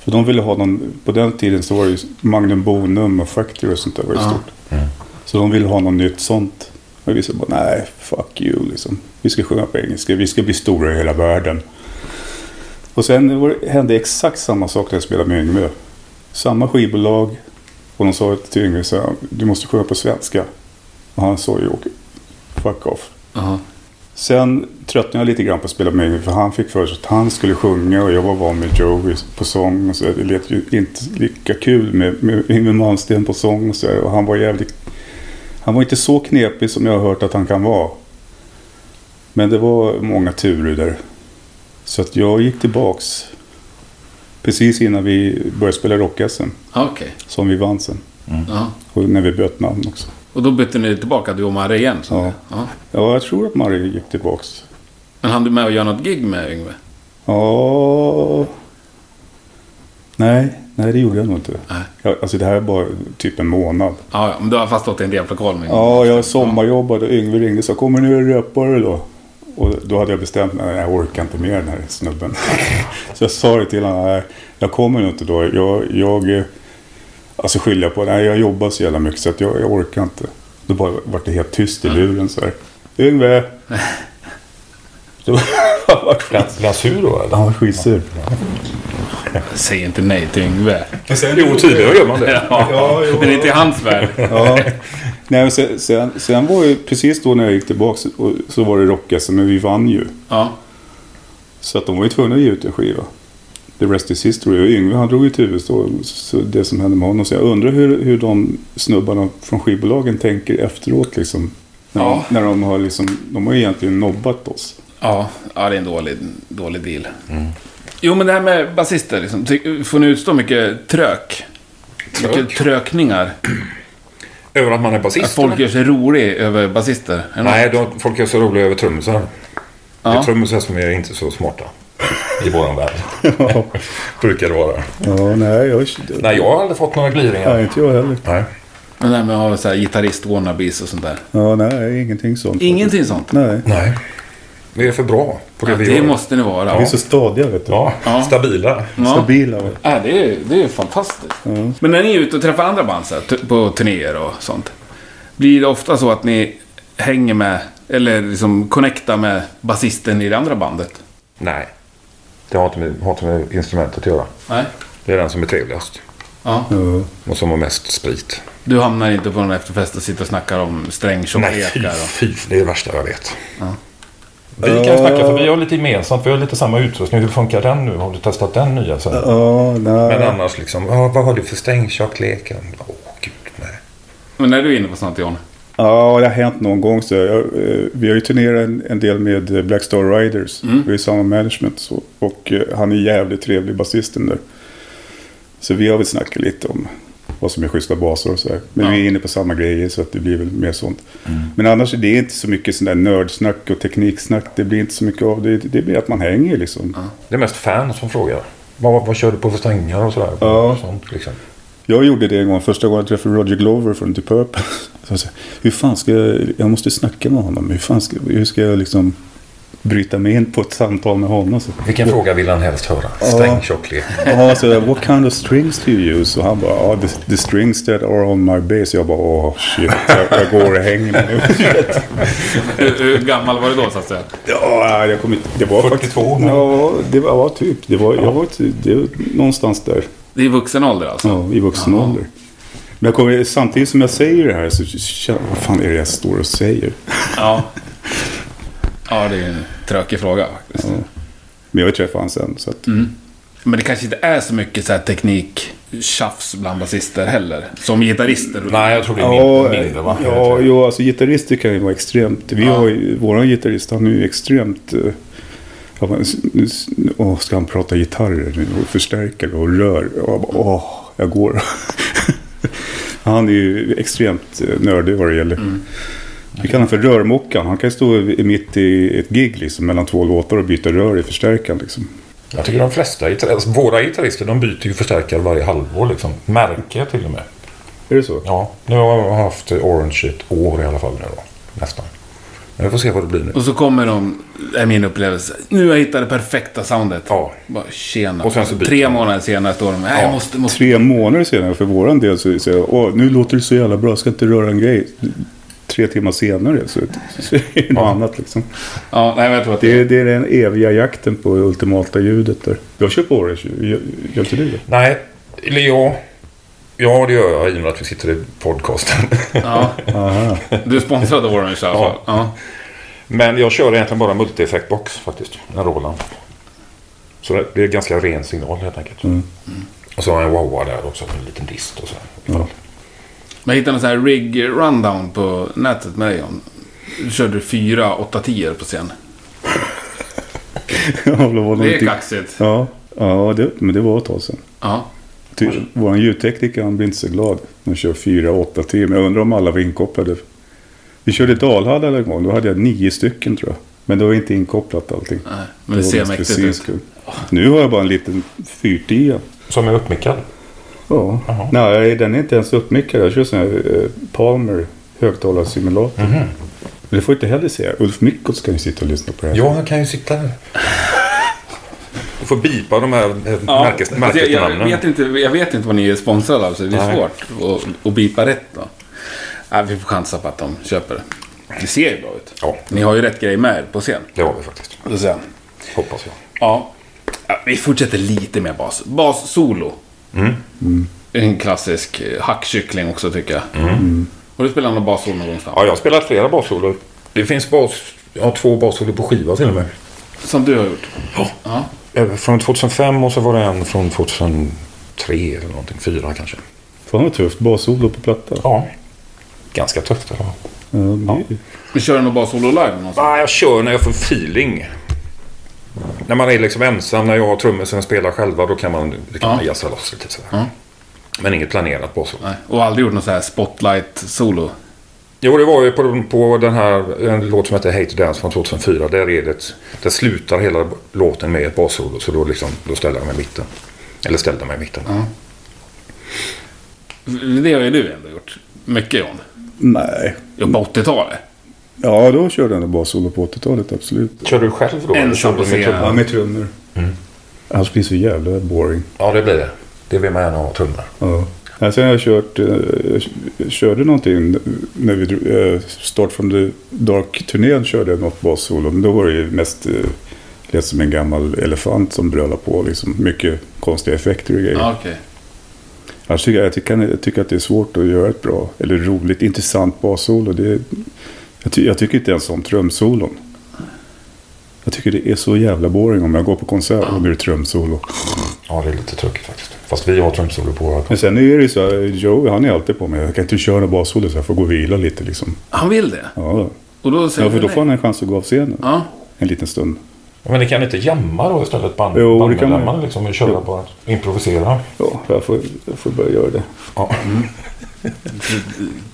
För de ville ha någon, på den tiden så var det ju Magnum Bonum och Factory och sånt där var ju
Ja.
stort. Så de ville ha något nytt sånt. Och vi sa bara, nej, fuck you liksom. Vi ska sjunga på engelska, vi ska bli stora i hela världen. Och sen var det- hände exakt samma sak när jag spelade med Yngve. Samma skivbolag. Och de sa till Yngve så här, du måste sjunga på svenska. Och han sa ju, "Okej, fuck off.
Jaha.
Sen tröttnade jag lite grann på att spela med Yngve för han fick för sig att han skulle sjunga och jag var van med Joey på sång. Och så. Det lät ju inte lika kul med, med Yngwie Malmsteen på sång och så. där. Och han var jävligt... Han var inte så knepig som jag har hört att han kan vara. Men det var många turer där. Så att jag gick tillbaks precis innan vi började spela rock
Ja, Okej.
som vi vann sen.
Ja.
Och när vi bytte namn också.
Och då bytte ni tillbaka, du och Marre igen? så
Ja.
att säga. ja.
Ja, jag tror att Marie gick tillbaks.
Men hann du med att göra något gig med Yngve?
Ja... Nej, nej det gjorde jag nog inte.
Nej.
Jag, alltså det här var typ en månad.
Ja, ja. Men du har fast stått i en jävla koll med Yngve.
Ja, jag sommarjobbade och Yngve ringde och sa kommer nu är röpare då. Och då hade jag bestämt mig, "Nej, jag orkar inte mer den här snubben. så jag sa det till honom, nej, jag kommer nog inte då. Jag, jag eh, alltså skyller jag på, nej jag jobbar så jävla mycket så att jag, jag orkar inte. Då bara vart det helt tyst i
Mm.
luren så här. Yngve! Då vart han-
Blir han sur då eller?
han var skitsur.
Säg inte nej till Yngve.
Jo, tydligare gör man det.
Ja, men inte i hans värld.
Ja. Nej, men sen, sen, sen var ju precis då när jag gick tillbaka och, så var det rock men vi vann ju.
Ja.
Så att de var ju tvungna att ge ut en skiva. The Rest Is History. Och Yngve han drog ju till huvudstå- så det som hände med honom. Så jag undrar hur, hur de snubbarna från skivbolagen tänker efteråt liksom. När,
Ja.
de, när de har liksom, de har ju egentligen nobbat oss.
Ja, ja det är en dålig, dålig deal. Jo, men det här med basister. Liksom, Ty- får ni utstå mycket trök? Mycket trökningar?
Över att man är basist?
Att folk
eller?
gör sig rolig över basister? Är det något?
Nej, de, folk är så roliga över trummisar. Det är
Ja.
trummisar som är inte så smarta. I våran värld. Brukar det vara.
Ja, nej, jag,
Nej, jag har aldrig fått några gliringar.
inte jag heller.
Nej.
Men det här med att ha så här gitarrist-wannabes och sånt där.
Ja, nej, ingenting sånt.
Ingenting sånt?
Nej.
Nej. Vi är för bra på det
Ja,
vi
det
gör.
måste ni vara.
Vi är
Ja.
så stadiga vet du.
Ja,
Ja.
stabila.
Ja.
Stabila. vet du.
Ja, det, är, det är fantastiskt. Men när ni är ute och träffar andra band så här, t- på turnéer och sånt. Blir det ofta så att ni hänger med, eller liksom connectar med basisten i det andra bandet?
Nej. Det har inte, med, har inte med instrumentet att göra.
Nej.
Det är den som är trevligast.
Ja.
Ja.
Och som har mest sprit.
Du hamnar inte på någon efterfest och sitter och snackar om
Nej, fy,
strängtjocklekar? Och...
fy. Det är det värsta jag vet. Vi kan ju snacka för vi har lite gemensamt. Vi har lite samma utrustning. Hur funkar den nu? Har du testat den nya? Så här.
Ja, nej.
Men annars liksom. "Ja, vad har du för strängtjocklek? Åh, gud. Nej.
Men när du är inne på sånt John?
Ja, det har hänt någon gång. Så jag, eh, vi har ju turnerat en, en del med eh, Black Star Riders. Vi är i samma management. Så, och eh, han är jävligt trevlig, basisten där. Så vi har väl snackat lite om vad som är schyssta baser och sådär. Men
Ja.
vi är inne på samma grejer så att det blir väl mer sånt. Men annars är det inte så mycket sån där nördsnack och tekniksnack. Det blir inte så mycket av det. Det blir att man hänger liksom.
Det är mest fan som frågar. Vad, vad kör du på för strängar och sådär?
Ja.
Sånt, liksom.
Jag gjorde det en gång, första gången jag träffade Roger Glover från The Purple. Så jag sa, hur fan ska jag, jag måste snacka med honom. Hur fan ska, hur ska jag liksom bryta mig in på ett samtal med honom? Så,
Vilken fråga vill han helst höra? Sträng tjocklek.
ja, så där, what kind of strings do you use? Och han bara, ah, the, the strings that are on my bass. Jag bara, åh shit, jag, jag går och hänger mig nu.
Hur, hur gammal var du då så att säga?
Ja, jag kommer inte... Det var
42
faktiskt... Ja, det var ja, typ. Det var, jag var, typ- det var någonstans där.
Det är vuxen ålder
Mm.
alltså?
Ja, i vuxen ålder. Men jag kommer, samtidigt som jag säger det här så känner jag, vad fan är det jag står och säger?
Ja. Ja, det är en tråkig fråga faktiskt.
Men jag har ju träffat honom sen. Så att,
Men det kanske inte är så mycket så här teknik tjafs bland basister heller. Som gitarrister.
Nej, jag tror det är
Ja, eh,
mindre, mindre va?
ja, jo, alltså gitarrister kan ju vara extremt. Vi har ju, våran gitarrist, han är ju extremt... eh, jag bara, s- s- Åh, ska han prata gitarrer nu och förstärkare och rör? Och jag bara, åh, jag går. han är ju extremt eh, nördig vad det gäller. Vi kallar honom för rörmockan. Han kan ju stå i- mitt i ett gig liksom, mellan två låtar och byta rör i förstärkaren. Liksom.
Jag tycker de flesta gitarrister, alltså våra gitarrister, de byter ju förstärkare varje halvår liksom. Märke till och med.
Är det så?
Ja, nu har jag haft Orange i ett år i alla fall nu då. Nästan. Men vi får se vad det blir nu.
Och så kommer de, är min upplevelse, nu har jag hittat det perfekta soundet.
Ja.
Bara tjena.
Och sen så byter
Tre
de.
månader senare står de, nej jag
Ja.
måste, måste.
Tre månader senare för våran del så säger jag åh, nu låter det så jävla bra, jag ska inte röra en grej. Tre timmar senare så, så är det något annat liksom.
Ja, nej men jag tror att det
Det är, det är den eviga jakten på det ultimata ljudet där. Jag kör på Orange, gör gör inte du det?
Nej, eller ja. Ja, det gör jag i och med att vi sitter i podcasten.
Ja. Du är sponsrad av Orange i alla fall.
Ja.
Ja.
Men jag kör egentligen bara multi-effektbox faktiskt. En Roland. Så det- det är ganska ren signal helt enkelt.
Mm.
Och så har jag en wowa där också. En liten dist och så.
Ja.
Men jag hittade en sån här rig rundown på nätet med dig om. Du körde fyra 810 på scen.
Jävlar, vad
Det är typ-
någonting-
kaxigt.
Ja, ja det, men det var ett tag sedan.
Ja.
Ty, vår ljudtekniker han blir inte så glad. De kör fyra, åtta, tio. Men jag undrar om alla var inkopplade. Vi körde Dalhalla en gång. Då hade jag nio stycken tror jag. Men det var inte inkopplat allting.
Nej, men det
var
ser
mest för
mäktigt
syns
ut.
skull. Nu har jag bara en liten 410.
Som är uppmickad.
Ja.
Jaha.
Nej, den är inte ens uppmickad. Jag kör sån här eh, Palmer högtalarsimulator. Men det får jag inte heller se. Ulf Mikkels kan ju sitta och lyssna på det här.
Ja, han kan ju sitta där. Du får bipa de här eh, märkes,
alltså, jag, jag,
märkesnamnen.
vet inte, jag vet inte vad ni är sponsrade av, så det är
Nej.
svårt att, att bipa rätt då. Nej, vi får chansa på att de köper det. Det ser ju bra ut.
Ja.
Ni har ju rätt grej med er på scen.
Det har vi faktiskt.
Så att säga.
Hoppas jag.
Ja. ja. Vi fortsätter lite med bas. Bas-solo.
Mm.
En klassisk eh, hackkyckling också tycker jag.
Mm.
Har du spelat någon bassolo någon gång? Stan?
Ja, jag har spelat flera bassolor. Det finns bas... Jag har två bassolor på skiva till och med.
Som du har gjort? Ja.
Eh, Från 2005 och så var det en från 2003 eller någonting. Fyra kanske.
Fan vad tufft. Bassolo på platta.
Ja. Ganska tufft i alla fall.
Ja, det är ju-
Men kör du någon bassolo live någonstans?
Nej, Ah, jag kör när jag får feeling. När man är liksom ensam, när jag har trummor som jag spelar själva, då kan man, det kan man jazza loss lite sådär. Men inget planerat basol.
Nej. Och aldrig gjort någon sån här spotlight-solo?
Jo, det var ju på, på den här en låt som heter Hate to Dance från 2004. Där, är det, ett- där slutar hela låten med ett bassolo. Så då, liksom, då ställer jag mig i mitten. Eller ställde mig i mitten.
Det har ju du ändå gjort. Mycket John.
Nej.
Ja, på 80-talet.
Ja, då körde han bassolo på 80-talet. Absolut.
Kör du själv då?
Ensam
Kör du
på
med
scen.
trummor?
Ja, med trummor. Mm. Annars blir det så jävla boring.
Ja, det blir det. Det vill man gärna ha trummor.
Ja. Nej, Sen har jag kört, eh, jag körde någonting när vi drog, eh, Start from the Dark-turnén körde jag något bassolo. Men då var det ju mest, eh, lät som en gammal elefant som brölade på liksom. Mycket konstiga effekter och grejer.
Ja, okej.
Annars tycker jag, jag, tycker, jag tycker att det är svårt att göra ett bra, eller roligt, intressant bassolo. Det, jag, ty, jag tycker inte ens om trumsolon. Jag tycker det är så jävla boring om jag går på konsert och blir det trumsolo.
Ja, det är lite tråkigt faktiskt. Fast vi har trumsolo på våra
Men sen är det ju så här, Joe han är alltid på mig. Jag kan inte köra bassolo så jag får gå och vila lite liksom.
Han vill det?
Ja,
Och då säger
ja för
du
då får han en chans att gå av scenen
Ja.
en liten stund.
Ja, Men ni kan inte jamma då istället? Band,
Jo, det kan
bandmedlemmarna
man.
liksom och köra på att improvisera?
Ja, jag får, jag får börja göra det.
Ja.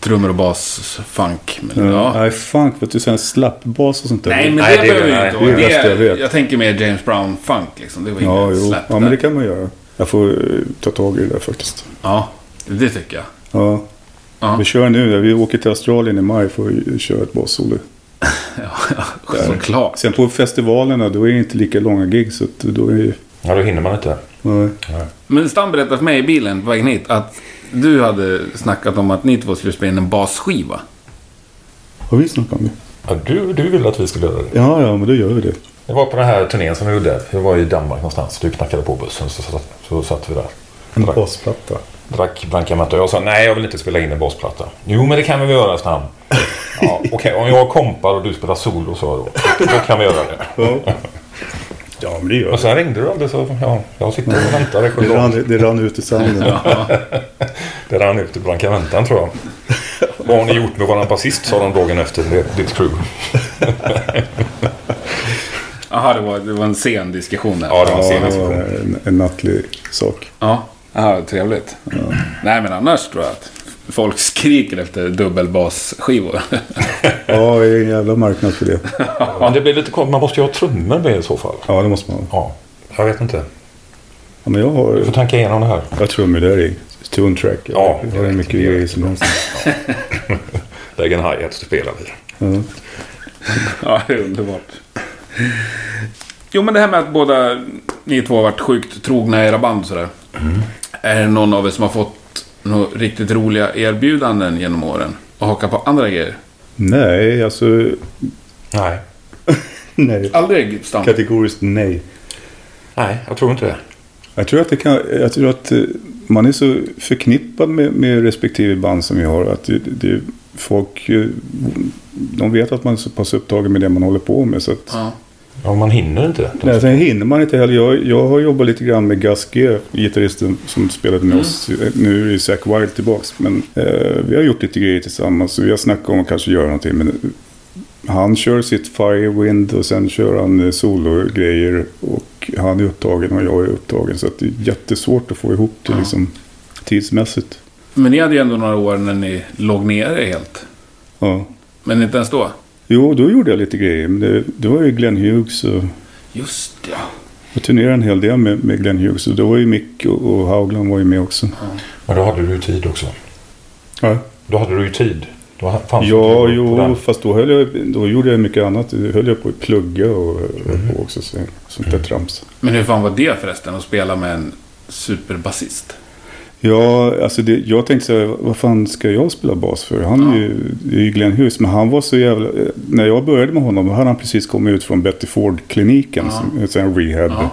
Trummor och bas, funk. Men,
Ja.
ja.
Mm. Nej, fan för att du sen slappbas och sånt där.
Nej, men
Nej,
det,
det är-
behöver vi inte
nej,
det är det
vara.
bästa jag vet.
jag tänker mer James Brown-funk liksom. Det var
Ja,
ingen
jo.
släpp
ja,
där.
men det kan man göra. Jag får eh, ta tag i det där faktiskt.
Ja. Det tycker jag.
Ja.
Ja.
Vi kör nu. Vi åker till Australien i maj för att köra ett bassolo.
Ja, såklart.
Sen på festivalerna då är det inte lika långa gig. Så att då är ju...
Ja, då hinner man inte.
Nej.
Men Stam berättade för mig i bilen på vägen hit att du hade snackat om att ni två skulle spela in en basskiva.
Har vi snackat om det?
Ja, du, du ville att vi skulle göra det.
Ja, ja, men då gör vi det.
Det var på den här turnén som vi gjorde. Vi var i Danmark någonstans. Du knackade på bussen så satt, så satt vi där.
En
Drack.
basplatta.
Drack blanka mattor. Jag sa nej, jag vill inte spela in en basplatta. Jo, men det kan vi väl göra, Stam. Ja, Okej, om jag kompar och du spelar solo så då, då kan vi göra det.
Ja. ja, men det gör
Och
vi.
sen ringde du aldrig så ja, jag sitter och väntar i sju
Det rann,
år.
det rann ut i sanden.
Det rann ut i blanka väntan tror jag. Vad har ni gjort med våran basist? sa de dagen efter det- ditt crew.
Jaha, det var, det var en sen diskussion där.
Ja, det var en
Ja,
sen
det var
diskussion.
en, en nattlig sak.
Ja. Aha, trevligt. Nej, men annars tror jag att folk skriker efter dubbelbasskivor.
Ja, det är en jävla marknad för det.
Men det blir lite konstigt. Man måste ju ha trummor med i så fall.
Ja, det måste man.
Ja, jag vet inte.
Ja, men jag
Du får
har...
tanka igenom det här.
Jag tror med det är Tune track.
Ja,
det är mycket
direkt.
grejer som helst.
Lägg en hi-hat så spelar vi.
Ja.
ja, det är underbart. Jo, men det här med att båda ni två har varit sjukt trogna i era band och sådär. Är det någon av er som har fått några riktigt roliga erbjudanden genom åren? Och haka på andra grejer?
Nej, alltså...
Nej.
Nej.
Aldrig, Stam?
Kategoriskt nej.
Nej, jag tror inte det.
Jag tror att, det kan, jag tror att eh, man är så förknippad med, med respektive band som vi har. Att det, det, folk eh, de vet att man är så pass upptagen med det man håller på med. Så att,
Ja.
Ja, man hinner inte.
Nej, sen hinner man inte heller. Jag, jag har jobbat lite grann med Gus G, gitarristen som spelade med oss. Nu är ju Zack Wilde tillbaks. Men eh, vi har gjort lite grejer tillsammans. Så vi har snackat om att kanske göra någonting. Men eh, han kör sitt Firewind och sen kör han eh, sologrejer. Och han är upptagen och jag är upptagen. Så att det är jättesvårt att få ihop det liksom, tidsmässigt.
Men ni hade ju ändå några år när ni låg nere helt.
Ja.
Men inte ens då?
Jo, då gjorde jag lite grejer. Men det, det var ju Glenn Hughes och
Just det.
jag turnerade en hel del med, med Glenn Hughes. Och då var ju Mick och, och Haugland var ju med också.
Men då hade du ju tid också.
Ja.
Då hade du ju tid. Då fanns
Ja,
det tid på
jo,
den.
fast då, höll jag, då gjorde jag mycket annat. Då höll jag på att plugga och höll på också. Så, sånt där trams.
Men hur fan var det förresten att spela med en superbasist?
Ja, alltså det, jag tänkte så här, vad fan ska jag spela bas för? Han är, ju, det är ju Glenn Hughes, men han var så jävla... eh, När jag började med honom hade han precis kommit ut från Betty Ford-kliniken, som- sen rehab.
Ja.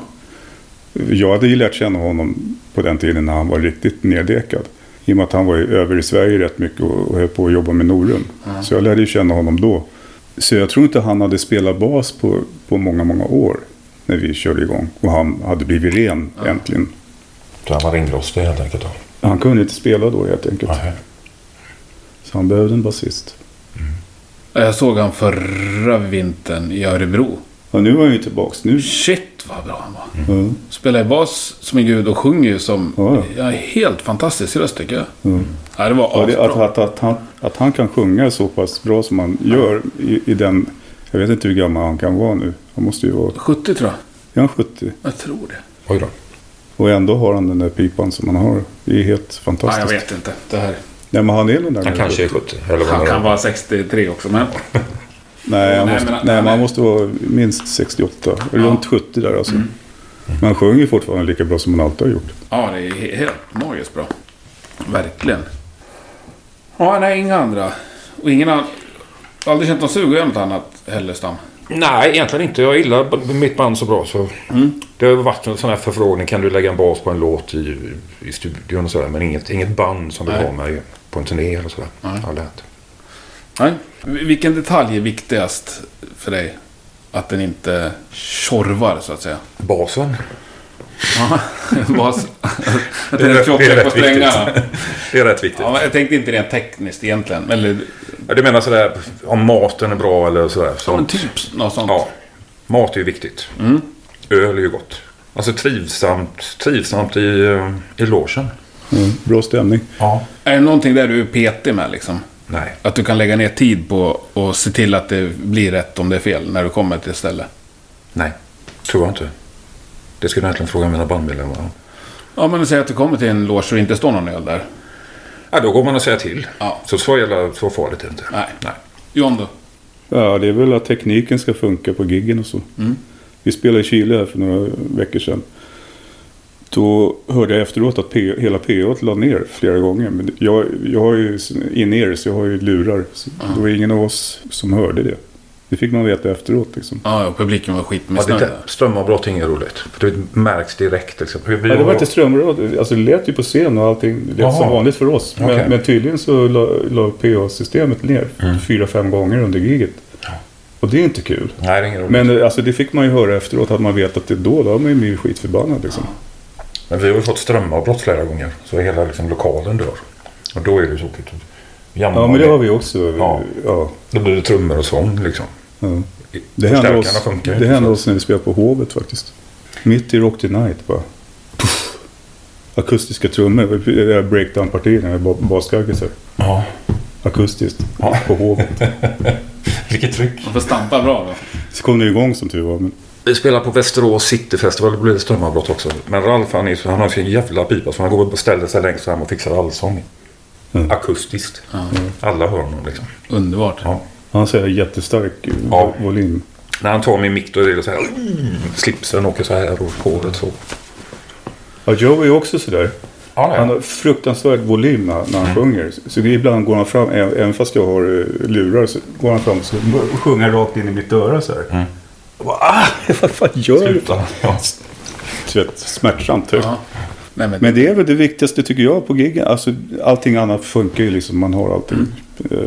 Jag hade ju lärt känna honom på den tiden när han var riktigt neddekad. I och med att han var ju över i Sverige rätt mycket och och höll på att jobba med Norum. Så jag lärde ju känna honom då. Så jag tror inte han hade spelat bas på, på många, många år när vi körde igång. Och han hade blivit ren äntligen.
Så han var ringrostig helt enkelt. Då.
Han kunde inte spela då helt enkelt.
Nej.
Så han behövde en basist.
Jag såg han förra vintern i Örebro.
Ja, nu var han ju tillbaks. Nu...
Shit vad bra han var.
Ja,
Spelar ju bas som en gud och sjunger ju som...
Ja, ja.
Ja, helt fantastisk röst tycker jag.
ja.
Ja, det var
Ja, det,
asbra.
att, att, att, han, att han kan sjunga så pass bra som han gör i, i den... Jag vet inte hur gammal han kan vara nu. Han måste ju vara...
70 tror jag.
Är han 70?
Jag tror det.
Oj då.
Och ändå har han den där pipan som han har. Det är helt
Ja, jag
fantastiskt.
vet inte. Det här.
Nej, men han är nog där
Han
nu.
kanske är 70. Eller vad
Han
det
kan
är.
vara 63 också, men...
Nej, han
Nej,
måste,
men
nej, men
han- han
han
är-
måste vara minst 68. Runt 70 där alltså.
Mm.
Mm.
Men han sjunger fortfarande lika bra som han alltid har gjort.
Ja, det är he- helt magiskt bra. Verkligen. Ja, nej, inga andra. Och ingen annan... Jag har aldrig känt någon sug att göra något annat heller, Stam.
Nej, egentligen inte. Jag gillar b- mitt band så bra. Så Det har varit en sån här förfrågning. Kan du lägga en bas på en låt i, i studion och sådär. Men inget, inget band som du
Nej.
har med på en turné eller sådär. Aldrig hänt.
Nej. V- Vilken detalj är viktigast för dig? Att den inte tjorvar, så att säga.
Basen.
Ja, bas... Att
Det är
den är
rätt- det är
tjockare på
rätt viktigt.
strängarna.
Det är rätt viktigt.
Ja, men jag tänkte inte rent tekniskt egentligen. Eller
Ja, Du menar sådär om maten är bra eller sådär. Så,
men typ något sånt.
Ja, mat är ju viktigt.
Mm.
Öl är ju gott. Alltså trivsamt, trivsamt i, eh, i logen.
Mm. Bra stämning.
Ja.
Är det någonting där du är petig med liksom?
Nej.
Att du kan lägga ner tid på och se till att det blir rätt om det är fel när du kommer till stället?
Nej, tror jag inte. Det skulle jag egentligen fråga mina bandmedlemmar om.
Ja, men säg att du kommer till en loge och det inte står någon öl där.
Ja, då går man och säger till.
Ja.
Så så jävla så farligt är det inte.
Nej.
Nej.
John då?
Ja, det är väl att tekniken ska funka på giggen och så.
Mm.
Vi spelade i Chile här för några veckor sedan. Då hörde jag efteråt att P- hela PA la ner flera gånger. Men jag, jag har ju in-ear, så jag har ju lurar. Så Det var ingen av oss som hörde det. Det fick man veta efteråt liksom.
Ja, ja, publiken var
Ja, det
skitmissnöjd.
där strömavbrott är inget roligt. För det märks direkt. Liksom. Vi
Ja, det var
har-
inte strömråd. Alltså det lät ju på scen och allting. Det lät som
Jaha.
vanligt för oss. Men,
Okej. Mm.
men tydligen så la, la PA-systemet ner fyra, fem gånger under giget. Och det är inte kul.
Nej, det är inget roligt. Men,
Men eh, alltså, det fick man ju höra efteråt. Hade man vetat det då, då hade man ju blivit skitförbannad. Liksom.
vi har ju fått strömavbrott flera gånger. Så hela liksom, lokalen dör. Och då är det ju tråkigt. Jammar
Ja, men det
man-
har vi också.
Ja.
Ja. Ja,
Då blir det trummor och sång liksom.
Det, hände
Förstärkarna
oss,
funkar ju
det
inte,
hände
så.
oss när vi spelade på Hovet faktiskt. Mitt i Rock the Night bara. Puff. Akustiska trummor. Det där breakdown-partierna med ba- basgaggisar.
Ja.
Akustiskt.
Ja.
På Hovet.
Vilket tryck.
Man får stampa bra då.
Så kom det igång som tur var. Men...
Vi spelar på Västerås City Festival. Det blir det strömavbrott också. Men Ralf han, är, så- han har sin jävla pipa. Så han går och ställer sig längst fram och fixar allsång.
Mm.
Akustiskt. Alla hör honom liksom.
Underbart.
Ja.
Han säger jättestark eh,
Ja.
volym.
När han tar min mick då är det så här. Slipsen åker så här och håret så.
Ja, Joe är också sådär.
Ja, Mm.
Han har fruktansvärd volym när, när han sjunger. Så det är ibland går han fram, ä- även fast jag har eh, lurar, så går han fram och så bör- och sjunger rakt in i mitt öra så här.
Mm.
Och bara, ah, vad fan gör du?
Sluta. Ja.
Du vet, smärtsamt. Typ.
Ja. Nej, men,
Men det är väl det viktigaste tycker jag på giggen. Alltså, allting annat funkar ju liksom. Man har allting. Eh,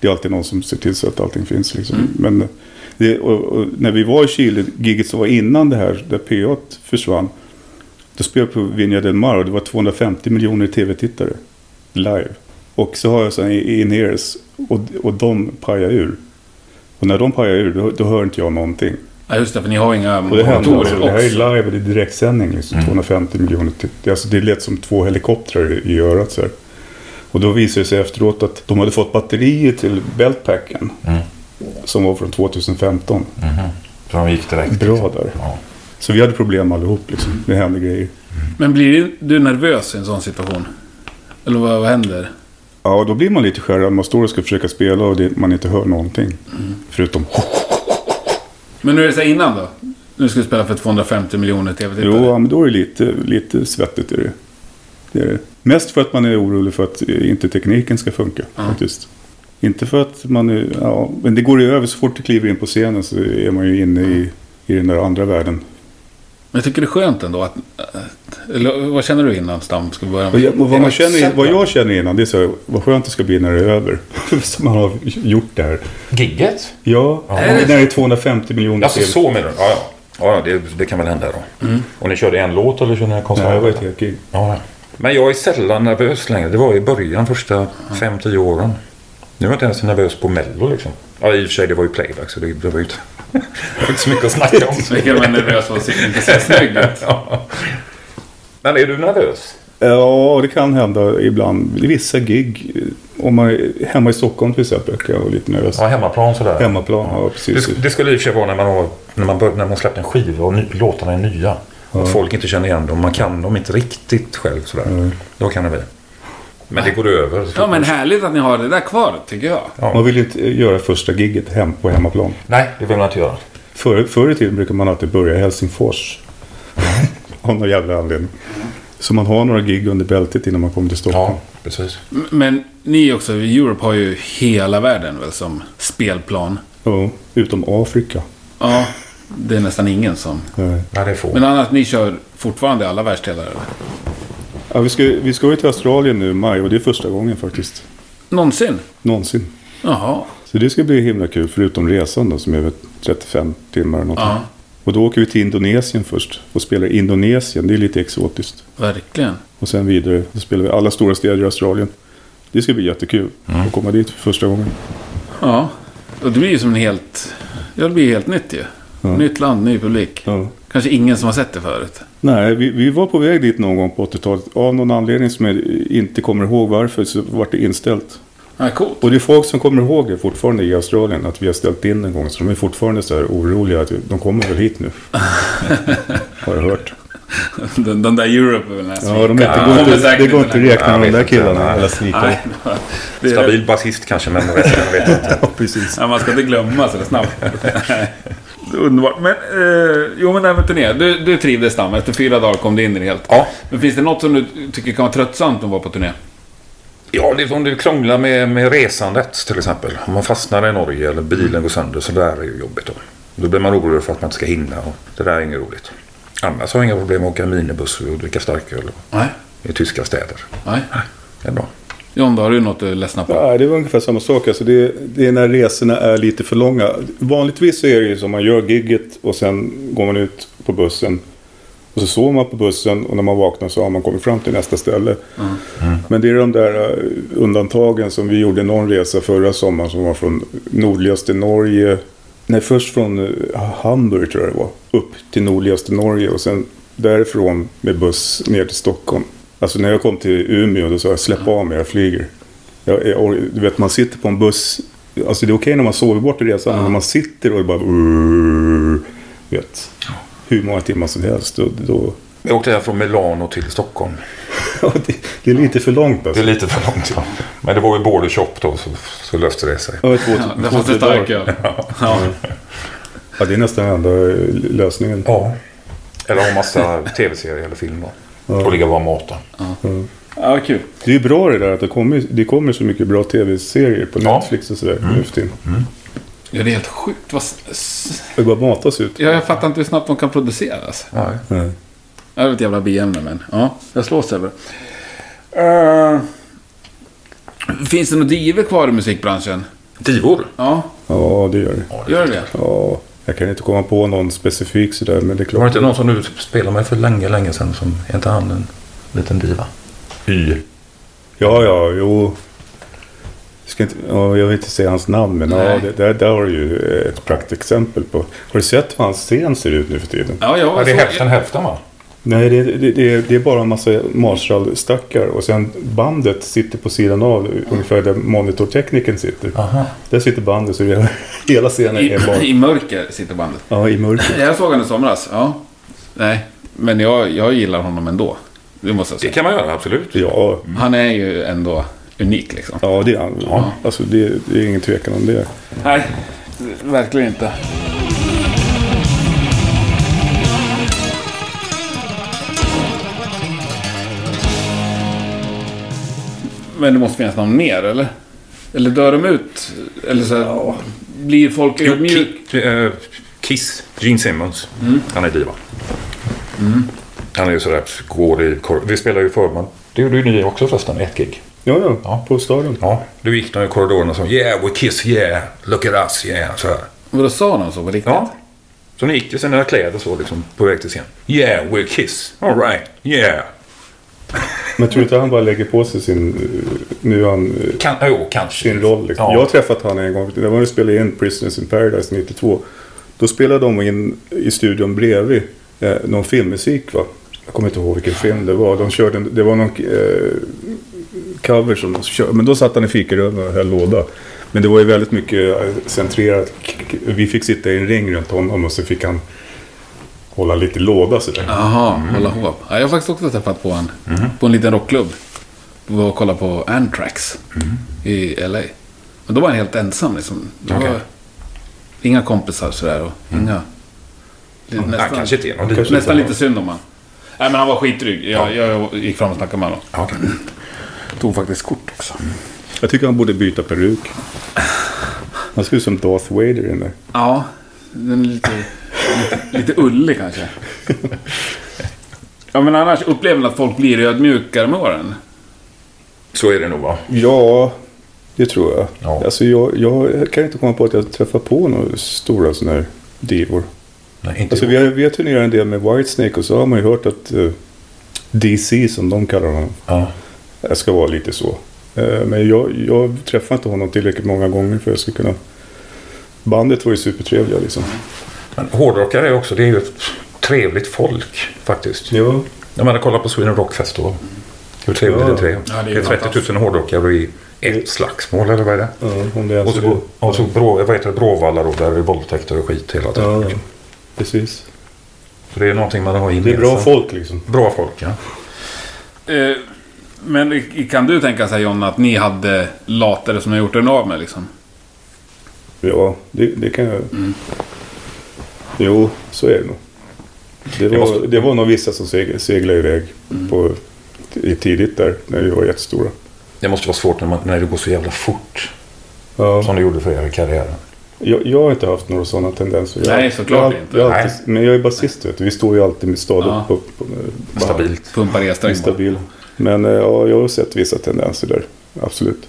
Det är alltid någon som ser till så att allting finns. Liksom. Men eh, det, och, och, när vi var i Chile, giget som var innan det här, där PA försvann. Då spelade jag på Vinja del Mar och det var 250 miljoner tv-tittare live. Och så har jag sådana in-ears och, och de pajar ur. Och när de pajar ur då, då hör inte jag någonting.
ja, just det, för ni har inga
Och det hände
monitorer.
alltså. Det här är
också.
live och det är direktsändning. Liksom, 250 miljoner tittare. Alltså, det lät som två helikoptrar i- i örat. Så här. Och då visade det sig efteråt att de hade fått batterier till beltpacken. Som var från 2015.
Så han gick direkt.
Bra där.
Ja.
Så vi hade problem allihop. Liksom. Det hände grejer.
Men blir du nervös i en sån situation? Eller vad, vad händer?
Ja, och då blir man lite skärrad. Man står och ska försöka spela och det, man inte hör någonting. Förutom...
Men nu är det så här innan då? Nu ska du spela för 250 miljoner
Jo,
tv-tittare.
ja, men då är det lite, lite svettigt. Är det. Det är det. Mest för att man är orolig för att eh, inte tekniken ska funka. faktiskt. Inte för att man är, ja, men det går ju över. Så fort du kliver in på scenen så är man ju inne i, i den där andra världen.
Men jag tycker det är skönt ändå att... att- Eller vad känner du innan Stam ska börja
Och
med?
jag, och vad,
Det
man
var
känner,
sällan.
vad jag känner innan det är så här, vad skönt det ska bli när det är över. Som man har gjort det här.
Gigget?
Ja, när det är 250 miljoner
Alltså
TV.
så menar du? Ja, ja. ja ja, det, det kan väl hända då. Och ni körde en låt eller körde ni en konsert?
Nej, det var ett helt gig.
Ja, ja. Men jag är sällan nervös längre. Det var i början, första fem, tio åren. Nu är jag inte ens nervös på Mello liksom. Ja, i och för sig, det var ju playback så det, det var ju inte, det var inte så mycket att snacka om.
Vilken man är nervös för att se- inte se snygg ut.
Ja. Men är du nervös?
Ja, det kan hända ibland. Vissa gig, eh, om man är hemma i Stockholm till exempel, kan jag vara lite nervös.
Ja, hemmaplan sådär.
Hemmaplan, ja precis.
Det, det skulle i och för sig vara när man, har, när man, bör, när man släppt en skiva och ny, låtarna är nya. Att folk inte känner igen dem. Man kan dem inte riktigt själv sådär. Då kan det bli. Men det går över.
Ja, men härligt att ni har det där kvar, tycker jag.
Man vill ju inte eh, göra första gigget hem på hemmaplan.
Nej, det vill man inte göra.
Förr, förr i tiden brukade man alltid börja i Helsingfors. Av någon jävla anledning. Så man har några gig under bältet innan man kommer till Stockholm.
Ja, precis.
M- Men ni också, Europe har ju hela världen väl som spelplan.
Ja, utom Afrika.
Ja, det är nästan ingen som...
Eh,
Ja, det får
Men annars, ni kör fortfarande i alla världsdelar? eller?
Ja, vi, ska, vi ska ju till Australien nu i maj och det är första gången faktiskt.
Någonsin?
Någonsin.
Jaha.
Så det ska bli himla kul, förutom resan då som är väl 35 timmar eller något.
Ja,
Och då åker vi till Indonesien först och spelar i Indonesien. Det är lite exotiskt.
verkligen.
Och sen vidare så spelar vi alla stora städer i Australien. Det ska bli jättekul att komma dit för första gången.
Ja. Och det blir ju som en helt... Ja, det blir ju helt nytt ju. Nytt land, ny publik.
Ja.
Kanske ingen som har sett det förut.
Nej, vi, vi var på väg dit någon gång på 80-talet. Av någon anledning som jag inte kommer ihåg varför så vart det inställt.
Ja, coolt.
Och det är folk som kommer ihåg det fortfarande i Australien att vi har ställt in en gång. Så de är fortfarande så här oroliga att de kommer väl hit nu. har jag hört.
Den, den där Europe är väl den här
Ja, de heter,
svinkaren.
går
Kommer
inte, det
säkert
går inte att räkna
Jag
med de
vet
där
inte,
killarna.
nej.
Eller sneakers.
Nej, det är,
Stabil basist kanske, men resten vet jag inte.
Ja, precis.
ja, man ska inte glömma så snabbt. Underbart. Men, eh, jo, men det här med turné. Du, du trivdes Stam. Efter fyra dagar kom du in i det helt.
Ja,
Men finns det något som du tycker kan vara tröttsamt att vara på turné?
Ja, det är om du krånglar med, med resandet till exempel. Om man fastnar i Norge eller bilen går sönder så där är ju jobbigt då. Då blir man orolig för att man inte ska hinna och det där är inget roligt. Annars har jag inga problem med att åka minibuss och dricka starköl
Nej.
i tyska städer.
Nej.
Det är bra.
John, då har du något du ledsnar på?
Ja, det var ungefär samma sak. Alltså det, det är när resorna är lite för långa. Vanligtvis så är det ju som man gör gigget och sen går man ut på bussen. Och så sover man på bussen och när man vaknar så har man kommit fram till nästa ställe. Men det är de där eh, undantagen som vi gjorde någon resa förra sommaren som var från nordligaste Norge. Nej, först från eh, Hamburg tror jag det var. Upp till nordligaste Norge och sen därifrån med buss ner till Stockholm. Alltså när jag kom till Umeå då sa jag släpp av mig, jag flyger. Jag, jag, or- du vet, man sitter på en buss. Alltså det är okej när man sover bort i resan, men när man sitter och det bara... du Vet, hur många timmar som helst. Då, då,
Jag åkte här från Milano till Stockholm.
ja, det, det är lite för långt
Det
alltså.
är lite för långt ja. Men det var ju border shop då så, så löste det sig.
Ja, två,
Ja, det
två,
fanns
tre
det stark
dagar.
öl. Ja.
ja, det är nästan enda eh, lösningen.
Ja. Eller ha massa tv-serier eller film då. Och ligga och vara mata.
ja, vad kul.
Det är ju bra det där att det kommer, det kommer så mycket bra tv-serier på
Ja.
Netflix och sådär
Mm.
nu för tiden.
Ja, det är helt sjukt. Vad... s- s-
Det bara matas ut.
Ja, jag fattar inte hur snabbt de kan produceras.
Nej.
Nej.
Det är ett jävla biämne, men ja, jag slås över det. Eh, Finns det något driver kvar i musikbranschen?
Divor?
Ja,
Ja, det gör det.
gör det det
Ja, jag kan inte komma på någon specifik sådär, men det är
Var det
klart.
inte någon som du spelade med för länge, länge sedan som är inte han en liten diva? Y.
Ja, ja, jo. Ska inte, ja, jag vill inte säga hans namn, men ja,
Nej.
det, där, där har du ju ett praktexempel på. Har du sett hur hans scen ser ut nu för tiden?
Ja, jag
Ja, det är
såg-
hälften hälften va?
Nej, det, det, det, är- det är bara en massa Marshall-stackar och sen bandet sitter på sidan av, ungefär där monitortekniken sitter.
Aha.
Där sitter bandet, så hela, hela scenen är bara...
I, I mörker sitter bandet.
Ja, i mörker.
Jag såg honom i somras. Ja. Nej, men jag, jag gillar honom ändå. Det måste jag
Det
säga.
kan man göra, absolut.
Ja,
Han är ju ändå unik liksom.
ja det är han. Alltså, det, det är ingen tvekan om det.
Nej, verkligen inte. Men det måste finnas någon mer, eller? Eller dör de ut? Eller så här, Blir folk
Jo,
ödmjuka?
Ki- eh, Kiss, Gene Simmons. Han är diva. Mm. Han är ju sådär, går i kor- Vi spelar ju förman. Det gjorde ju ni också förresten, ett gig.
Ja, ja,
Ja.
på stadion.
Ja, då gick de i korridorerna och sa Yeah, we kiss, yeah, look at us, yeah. Så här.
Vadå, sa de så på riktigt?
Ja. Så ni gick i sina kläder så liksom, på väg till scen. Yeah, we kiss, alright, yeah.
Men tror du inte han bara lägger på sig sin... eh, Nu är han... eh,
Kan, jo, kanske.
sin roll. Liksom.
Ja.
Jag har träffat han en gång. Det var när vi spelade in Prisoners in Paradise 92. Då spelade de in i studion bredvid eh, någon filmmusik. Va? Jag kommer inte ihåg vilken film det var. De körde, en- det var någon eh, cover som de körde. Men då satt han i fikarummet och höll låda. Men det var ju väldigt mycket eh, centrerat. Vi fick sitta i en ring runt honom och så fick han hålla lite låda sådär.
Jaha, hålla hov. Ja, jag har faktiskt också träffat på en.
Mhm.
På en liten rockklubb. Vi var och kollade på Anthrax
Mhm.
i LA. Men då var han helt ensam liksom. Det
Okej. Mm.
var inga kompisar sådär och inga... Det är
Nej,
Nästan,
kanske inte är någon
Kanske
diva.
nästan lite synd om han. Nej, men han var skitdryg. Jag, jag gick fram och snackade med honom.
Ja, okej.
Tog faktiskt kort också.
Jag tycker han borde byta peruk. Han ser ut som Darth Vader i den där.
Ja, den är lite, lite, lite ullig kanske. Ja, men annars upplever man att folk blir ödmjukare med åren.
Så är det nog va?
Ja, det tror jag.
Ja.
Alltså jag, jag kan inte komma på att jag träffar på några stora sådana här divor.
Nej, inte
Alltså vi har, vi har turnerat en del med Whitesnake och så har man ju hört att eh, DC, som de kallar honom,
ja.
eh, ska vara lite så. Eh, men jag, jag träffar inte honom tillräckligt många gånger för att jag ska kunna... Bandet var ju supertrevliga liksom.
Men hårdrockare är också, det är ju ett trevligt folk faktiskt.
Ja.
När man kollar på Sweden Rock Festival. Hur trevligt
Ja.
det är det
Ja, det är
det är 30
fantastiskt.
000 hårdrockare i ett slagsmål eller vad är det?
ja om Alltså, det är
Och så,
så.
och så Brå, vad heter det, Bråvalla då, där är det våldtäkter och skit hela tiden.
Ja, ja. precis.
Så det är någonting man har
Det är
gemensamt.
bra folk liksom.
Bra folk, ja.
Eh, Men i- kan du tänka sig John att ni hade latare som ni har gjort en av med liksom?
Ja, det, det kan jag...
Mm.
Jo, så är det nog. Det var,
Jag måste-
det var nog vissa som seg, seglade iväg
Mm.
på, i tidigt där, när vi var jättestora.
Det måste vara svårt när, man, när det går så jävla fort.
Ja.
Som det gjorde för er i karriären.
Jag, jag har inte haft några sådana tendenser. Jag,
Nej, såklart
jag,
inte.
Jag, har alltid, men jag är basist, vet du. Vi står ju alltid med stadigt
Ja.
på, på, på
Stabilt.
Pumpa resträng bara.
Stabil. Men eh, ja, jag har sett vissa tendenser där. Absolut.